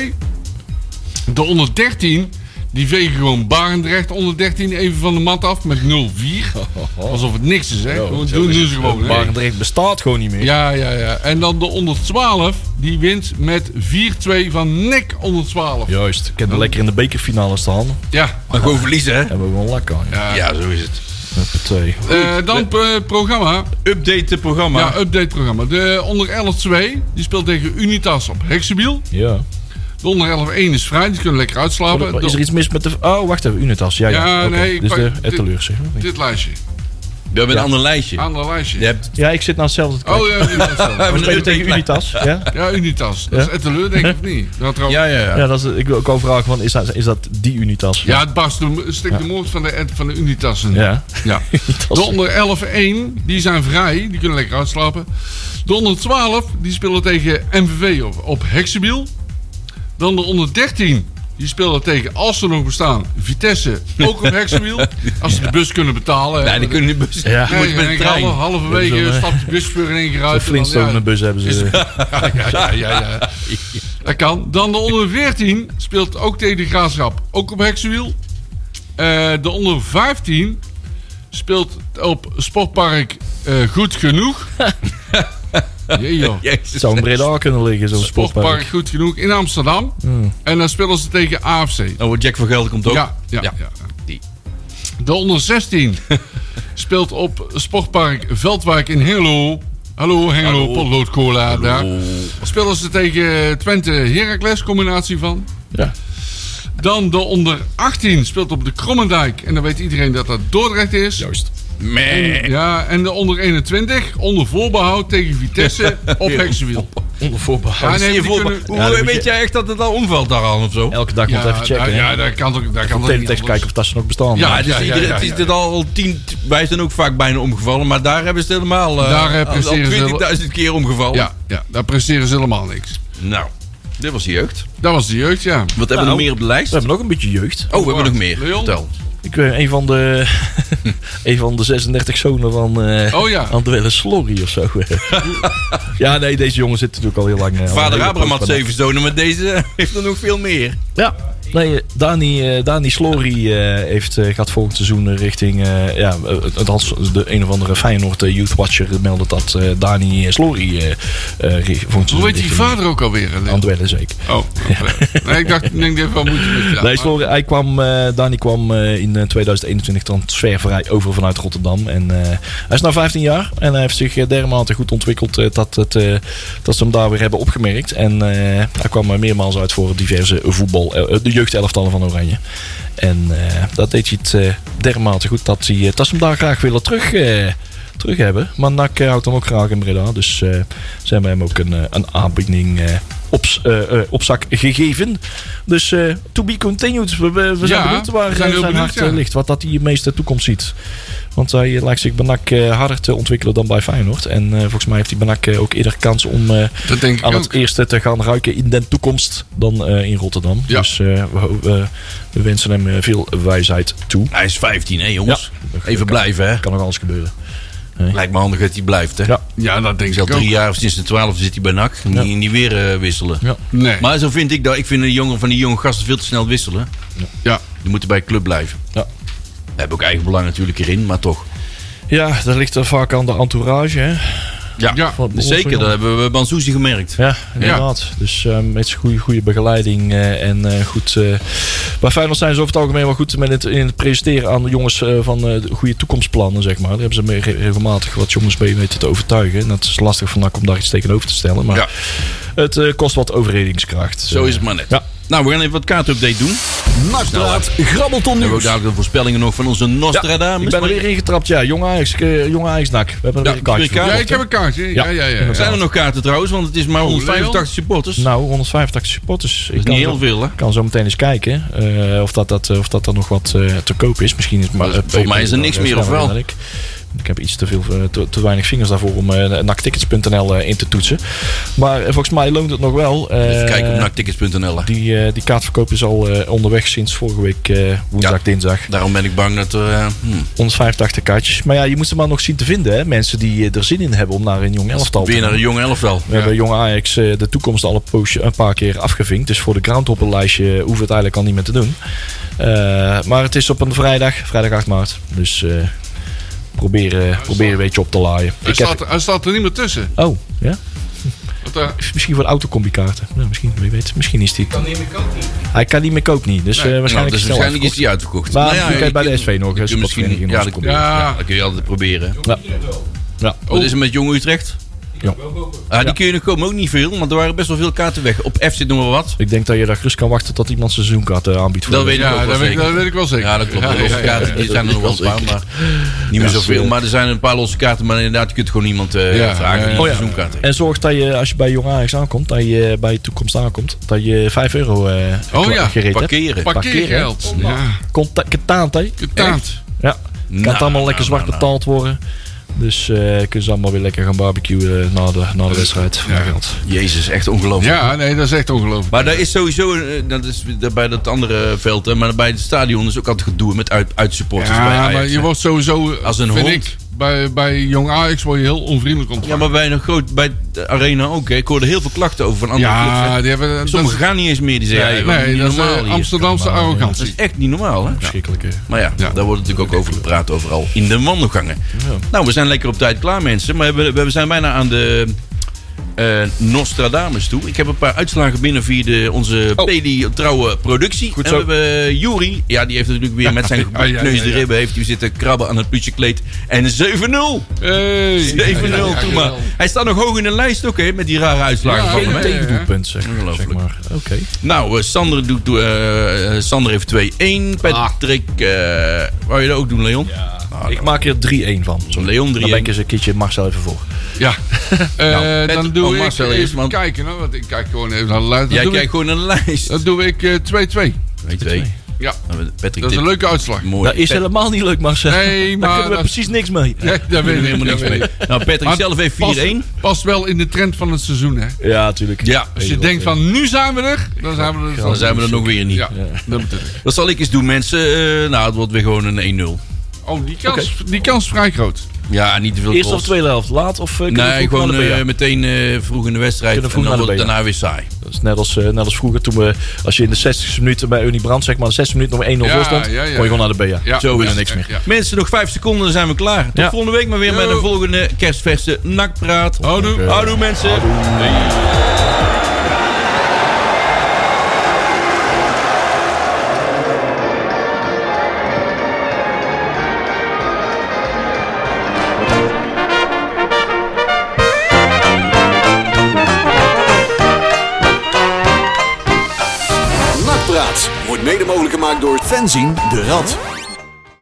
C: De onder 13, die vegen gewoon Barendrecht onder 13 even van de mat af met 0-4. Alsof het niks is, hè?
B: Oh,
C: Gewoon doen doen ze gewoon. hè?
D: Barendrecht bestaat gewoon niet meer.
C: Ja, ja, ja. En dan de onder 12, die wint met 4-2 van NEC onder 12.
D: Juist, ik heb er lekker in de bekerfinale staan.
C: Ja.
B: Maar gewoon verliezen, hè?
D: Hebben we gewoon lak aan. Ja.
B: Ja, zo is het.
D: Huppatee.
C: Eh, dan eh, programma.
B: Update het programma.
C: Ja, update programma. De onder 11-2, die speelt tegen Unitas op Hexabiel.
D: Ja.
C: De onder 11-1 is vrij, die kunnen lekker uitslapen. Dus
D: Is er
C: De-
D: iets mis met de... Oh, wacht even. Unitas. Ja, ja.
C: Ja,
D: Oké,
C: nee, ik
D: Dus de
C: pak-
D: etaleur, zeg maar.
C: Dit lijstje.
B: We hebben een
D: Ja.
B: ander lijstje.
C: Ander lijstje.
B: Je hebt
D: Ja, ik zit nou hetzelfde te kijken.
C: Oh ja, Unitas.
D: We
B: een
D: spelen tegen
B: update-
D: Unitas. Ja?
C: ja, Unitas. Dat is Etteleur, denk ik of niet? Dat trouwens-
B: Ja, ja, ja.
D: Ja, dat is, ik wil ook wel vragen van, is dat, is dat die Unitas?
C: ja, het barst de, stik de moord van de, Ed- van de Unitas. in.
D: Ja.
C: Ja. De onder 11-1, die zijn vrij. Die kunnen lekker uitslapen. De onder 12, die spelen tegen MVV op, op Hexabiel. Dan de onder 13, die spelen tegen, als ze nog bestaan, Vitesse, ook op Hexabiel. Als ze de bus kunnen betalen. hè.
B: Nee, die kunnen niet bus.
D: Ja.
B: Ja. Moet je
C: Nee,
B: met
C: en
B: de
C: ik
B: trein.
C: halve- halverwege
D: Zo'n, eh,
C: stapt de buschauffeur in één keer
D: Een
C: uit. en dan, ja,
D: Flintstone bus hebben ze.
C: ja, ja, ja. Dat kan. Dan de onder 14 speelt ook tegen de Graafschap. Ook op Heksenwiel. Eh, de onder 15 speelt op Sportpark eh, Goed Genoeg. Jee, joh.
B: Jezus.
D: Het zou een Breda kunnen liggen, zo'n sportpark.
C: Sportpark Goed Genoeg in Amsterdam. En dan spelen ze tegen AFC.
B: Oh, Jack van Gelder komt ook.
C: Ja, ja, ja.
B: Ja.
C: Die. De onder 16 speelt op Sportpark Veldwijk in Hengelo. Hallo Hengelo,
B: Hallo.
C: potlood cola daar.
B: Oh.
C: Spelen ze tegen Twente Heracles, combinatie van.
D: Ja.
C: Dan de onder 18 speelt op de Krommendijk. En dan weet iedereen dat dat Dordrecht is.
D: Juist.
B: Meh.
C: Ja, en de onder 21 onder voorbehoud tegen Vitesse op Heksenwiel.
D: Onder voorbehoud.
C: Ja, nee,
B: Zie je
C: die
B: voor-
C: kunnen-
B: Hoe
D: Ja, dat
B: weet
D: moet je-
B: jij echt dat het al omvalt daar al of zo?
D: Elke dag moet even checken.
C: ja,
D: Ja,
C: daar kan toch daar kan toch niet
D: Teletext
C: anders.
D: kijken of dat ze nog bestaan.
C: Ja,
B: Ja, dus
C: ja, ja,
B: iedereen-
C: ja,
B: het is
C: ja.
B: dit al tien, wij zijn ook vaak bijna omgevallen, maar daar hebben ze het helemaal eh,
C: Daar, eh,
B: al- al
C: presteren ze-
B: 20.000 keer omgevallen.
C: Ja, ja, daar presteren ze helemaal niks.
B: Nou, dit was de jeugd.
C: Dat was de jeugd, ja.
B: Wat hebben we nog meer op de lijst?
D: We hebben nog een beetje jeugd.
B: Oh, we hebben nog meer.
C: Leon?
B: Vertel.
D: Ik weet een van de, een van de 36 zonen van eh
C: Oh ja.
D: Andwelle Slorry of zo. ja, nee, deze jongen zit natuurlijk al heel lang. eh, al een
B: Vader
D: hele
B: Abraham
D: poos
B: had
D: bij
B: zeven zonen, maar deze heeft er nog veel meer.
D: Ja, nee, eh, Dani, eh, Dani Slory eh, heeft, eh, gaat volgend seizoen eh, richting... eh, ja, eh, althans, de een of andere Feyenoord eh, Youth Watcher meldde dat eh, Dani Slory eh eh, ri- volgend seizoen
C: Hoe heet die
D: richting
C: vader ook alweer? hè, Leon?
D: Andwelle zeker.
C: Oh, nee, ik dacht, ik denk dat wel moeten met ja,
D: Nee,
C: maar-
D: Slory, hij kwam, eh, Dani kwam eh, in eh, 2021 transfervrij over vanuit Rotterdam. En eh, hij is nu 15 jaar en hij heeft zich eh, dermate goed ontwikkeld eh, dat, het, eh, dat ze hem daar weer hebben opgemerkt. En eh, hij kwam er meermaals uit voor diverse voetbal, eh, de jeugdelftallen eh, van Oranje. En eh, dat deed hij het eh, dermate goed dat, hij, eh, dat ze hem daar graag willen terug, eh, terug hebben. Maar NAC eh, houdt hem ook graag in Breda. Dus eh, ze hebben hem ook een, eh, een aanbieding eh, op, s- eh, eh, op zak gegeven. Dus eh, to be continued. We, we, we zijn
C: Ja,
D: benieuwd waar
C: we zijn
D: eh, zijn,
C: heel benieuwd,
D: hart eh,
C: ja.
D: ligt. Wat dat hij het meeste toekomst ziet. Want hij eh, lijkt zich bij NAC eh, harder te ontwikkelen dan bij Feyenoord. En eh, volgens mij heeft hij bij NAC eh, ook eerder kans om... eh,
C: Dat denk ik
D: aan
C: ook.
D: het eerste te gaan ruiken in de toekomst dan eh, in Rotterdam.
C: Ja.
D: Dus eh, we, ho- eh, we wensen hem eh, veel wijsheid toe.
B: Hij is 15, hè jongens? Even
D: kan-
B: blijven, hè?
D: Kan nog alles gebeuren.
B: Lijkt me handig dat hij blijft, hè?
D: Ja.
C: Ja, dat denk
B: Ik
C: ik
B: zal
C: ook.
B: drie jaar, sinds de 12 zit hij bij NAC. Niet, niet weer eh, wisselen.
D: Ja.
C: Nee.
B: Maar zo vind ik dat. Ik vind de jongen van die jonge gasten veel te snel wisselen.
C: Ja.
B: Die moeten bij de club blijven.
D: Ja.
B: We hebben ook eigen belang natuurlijk erin, maar toch.
D: ja, dat ligt er vaak aan de entourage. Hè?
B: Ja,
C: Ja.
D: Van onze
B: zeker. Dat
D: jongen.
B: hebben we bij Bansuzi gemerkt.
D: Ja, inderdaad. Dus eh, met goede, goede begeleiding eh, en eh, goed. eh bij Feyenoord zijn ze over het algemeen wel goed met het, in het presenteren aan de jongens eh, van eh, de goede toekomstplannen, zeg maar. Daar hebben ze mee- re- regelmatig wat jongens mee weten te overtuigen. En dat is lastig van NAC om daar iets tegenover te stellen. Maar
B: Ja.
D: het eh, kost wat overredingskracht.
B: Zo
D: Eh,
B: is het maar net.
D: Ja.
B: Nou, we gaan even wat kaartupdate doen. Nou, We
A: Nakpraat, grabbelton
B: hebben ook
A: nieuws.
B: dadelijk de voorspellingen nog van onze Nostradamus.
D: Ik ben er
B: Maar
D: weer ingetrapt, ja. Jong Ajax, eh, jong Ajax NAC. We hebben er
B: Ja,
D: weer een kaartje
B: weer
D: voor.
C: Ja, ik
B: kaart.
C: heb een kaartje. Ja, ja, ja. ja.
B: Zijn er nog kaarten trouwens? Want het is
C: Oh,
B: maar 185 supporters.
D: Nou, 185 supporters. Ik
B: dat is
D: kan
B: niet
D: zo-
B: heel veel, hè?
D: Ik kan zo meteen eens kijken eh, of, dat, dat, of dat dan nog wat eh, te koop is. Misschien is het maar,
B: Volgens
D: eh,
B: mij is er niks meer, of wel?
D: dan Ik. Ik heb iets te, veel, eh, te, te weinig vingers daarvoor om eh naktickets.nl eh, in te toetsen. Maar eh, volgens mij loont het nog wel. Eh,
B: Even kijken op naktickets.nl. hè.
D: Die, eh, die kaartverkoop is al eh, onderweg sinds vorige week eh, woensdag,
B: Ja.
D: dinsdag.
B: Daarom ben ik bang dat... eh, hm,
D: 185 kaartjes. Maar ja, je moet ze maar nog zien te vinden. Hè? Mensen die eh, er zin in hebben om naar een jong elftal te
B: weer naar een jong elftal.
D: We hebben Jong Ajax eh, de toekomst al een, poosje, een paar keer afgevinkt. Dus voor de groundhopperlijstje hoeven we het eigenlijk al niet meer te doen. Eh, maar het is op een vrijdag, vrijdag 8 maart. Dus eh probeer, eh, probeer een beetje op te laaien.
C: Hij staat, hij staat er niet meer tussen.
D: oh, ja?
C: Want, eh,
D: Misschien voor de autocombi-kaarten. Nou, misschien, wie weet. Misschien is die... Hij kan niet meer koop niet. Dus eh,
B: Nou,
D: waarschijnlijk
B: dus
D: is het
B: waarschijnlijk is die uitverkocht.
D: Maar
B: Nou ja,
D: die kan je bij
B: je
D: de
B: kunt-
D: SV nog,
B: je
D: hè,
B: kunt misschien,
D: sportvereniging
B: ja,
D: nog
B: dat,
D: proberen.
B: ja, Oh, dus- dat kun je altijd proberen.
D: Ja. Ja.
B: Wat is er met Jong Utrecht?
D: Ja.
B: Ah, die kun je nog komen, ook niet veel, want er waren best wel veel kaarten weg. Op F zit nog wel wat.
D: Ik denk dat je daar gerust kan wachten tot iemand seizoenkaarten aanbiedt. voor
B: Dat
D: de-
B: weet ik ook
C: ja,
B: wel
C: dat weet, ik-
B: zeker.
C: dat weet ik wel zeker.
B: Ja, dat klopt.
C: Ja,
B: De losse
C: ja, ja,
B: kaarten,
C: ja.
B: die zijn er nog wel een paar, maar niet meer zoveel. Maar er zijn een paar losse kaarten, maar inderdaad, je kunt gewoon iemand eh,
C: Ja,
B: vragen.
C: ja, ja.
B: die
D: Oh ja.
B: een seizoenkaart heeft.
D: En zorg dat je, als je bij Jong Ajax aankomt, dat je bij toekomst aankomt, dat je 5 euro eh
C: Oh ja,
D: gereed hebt.
B: Parkeren.
C: Parkeergeld. Ja,
D: Komt ketaant, hè?
C: getaand.
D: Ja. Kan
B: Nou,
D: het allemaal lekker
B: nou,
D: zwart betaald worden. Dus eh kunnen ze allemaal weer lekker gaan barbecuen eh, na de, na de wedstrijd. Voor
C: Ja.
D: dat geld.
B: Jezus, echt ongelooflijk.
C: Ja, nee, dat is echt ongelooflijk.
B: Maar daar is sowieso, eh, dat is weer bij dat andere veld, hè, maar bij het stadion is ook altijd gedoe met uit, uitsupporters bij
C: Ja,
B: Ajax,
C: maar je
B: hè.
C: wordt sowieso, eh,
B: Als een
C: vind
B: hond.
C: ik, bij, bij Jong Ajax word je heel onvriendelijk
B: Ja,
C: ontvangen.
B: maar bij een groot, bij de arena ook. Hè. Ik hoorde heel veel klachten over van andere clubs.
C: Ja,
B: hè.
C: die hebben... dat-
B: Sommigen gaan niet eens meer, die zeggen.
C: nee,
B: "Hey, wat
C: nee,
B: niet
C: dat is
B: normaal
C: eh,
B: hier."
C: Amsterdamse
B: Dat
C: arrogantie.
B: is echt niet normaal, hè?
D: Verschrikkelijke.
B: Maar ja,
C: Ja.
B: daar wordt natuurlijk ook over gepraat overal. In de wandelgangen. Nou, we zijn lekker op tijd klaar, mensen. Maar we, we zijn bijna aan de eh, Nostradamus toe. Ik heb een paar uitslagen binnen via de, onze
C: Oh.
B: Peli trouwe productie. en
D: zo.
B: we hebben Juri. Ja, die heeft natuurlijk weer met zijn
C: Ja, ja, ja,
B: gekneusde
C: ja.
B: ribben... heeft hij zitten krabben aan het putje kleed. En 7-0! 7-0,
C: Hey.
B: doe maar. Hij staat nog hoog in de lijst ook, hè, met die rare uitslagen
C: Ja,
B: van
C: geen
B: hem. hè.
C: idee.
D: Tegendoelpunt, zeg, zeg
B: Ongelooflijk.
D: maar. Oké.
B: Nou, eh, Sander, doet, eh, eh, Sander heeft
C: Ah.
B: 2-1. Patrick, eh, wou je dat ook doen, Leon?
D: Ik maak er 3-1 van. Sorry.
B: nou, Leon 3-1.
D: Dan ben ik eens een keertje Marcel even voor.
C: Ja. Eh,
B: Nou,
C: dan
B: Patrick
C: doe
B: van
C: ik
B: Marcel
C: even
B: is, want-
C: kijken, hoor, want ik kijk gewoon even naar de luid.
B: Jij
C: Dan, doe
B: kijkt
C: ik-
B: gewoon naar de lijst.
C: dan doe ik eh, 2-2.
B: 2-2.
C: ja,
B: Nou, Patrick,
C: dat is een
B: dit-
C: leuke uitslag.
B: Mooi.
D: Dat is
B: Pat-
D: helemaal niet leuk, Marcel.
C: Nee, maar
D: Daar kunnen we
C: dat-
D: precies niks mee.
C: Nee, daar weet ik
B: helemaal niks
C: daar
B: mee.
C: weet ik.
B: Nou, Patrick
C: Maar
B: zelf heeft 4-1.
C: past- Past wel in de trend van het seizoen, hè.
D: Ja, natuurlijk.
B: Ja,
C: Als
D: Weet
C: je
D: je
C: denkt van, nu zijn we er, dan zijn we er.
B: Dan zijn we er nog weer niet.
C: Ja, dat bedoel ik.
B: Dat zal ik eens doen, mensen. Eh, nou, het wordt weer gewoon een 1-0.
C: Oh, die kans, die kans is vrij groot.
B: Ja, niet te veel
D: Eerste of
B: goals.
D: tweede helft? Laat of eh, kunnen we
B: Nee,
D: vroeg
B: gewoon
D: naar de
B: eh,
D: BA?
B: meteen eh, vroeg in de wedstrijd.
D: Kunnen
B: En
D: vroeg
B: dan
D: naar de
B: wordt het
D: BA.
B: daarna weer saai.
D: Dat is net als, eh, net als vroeger toen we, als je in de 60 minuten bij Unie Brand, zeg maar, de 60 minuten nog 1-0
C: Ja,
D: voor stond,
C: ja, ja.
D: kon je gewoon naar de BA.
C: Ja,
B: Zo is
C: ja,
B: het niks
C: ja,
D: meer.
C: ja.
B: Mensen, nog 5 seconden, dan zijn we klaar. Tot
D: Ja.
B: volgende week maar weer met
C: Yo.
B: een volgende kerstverse nakpraat.
C: Houdoe.
B: Houdoe mensen.
A: Nakpraat wordt Mede mogelijk gemaakt door Fenzien de Rad.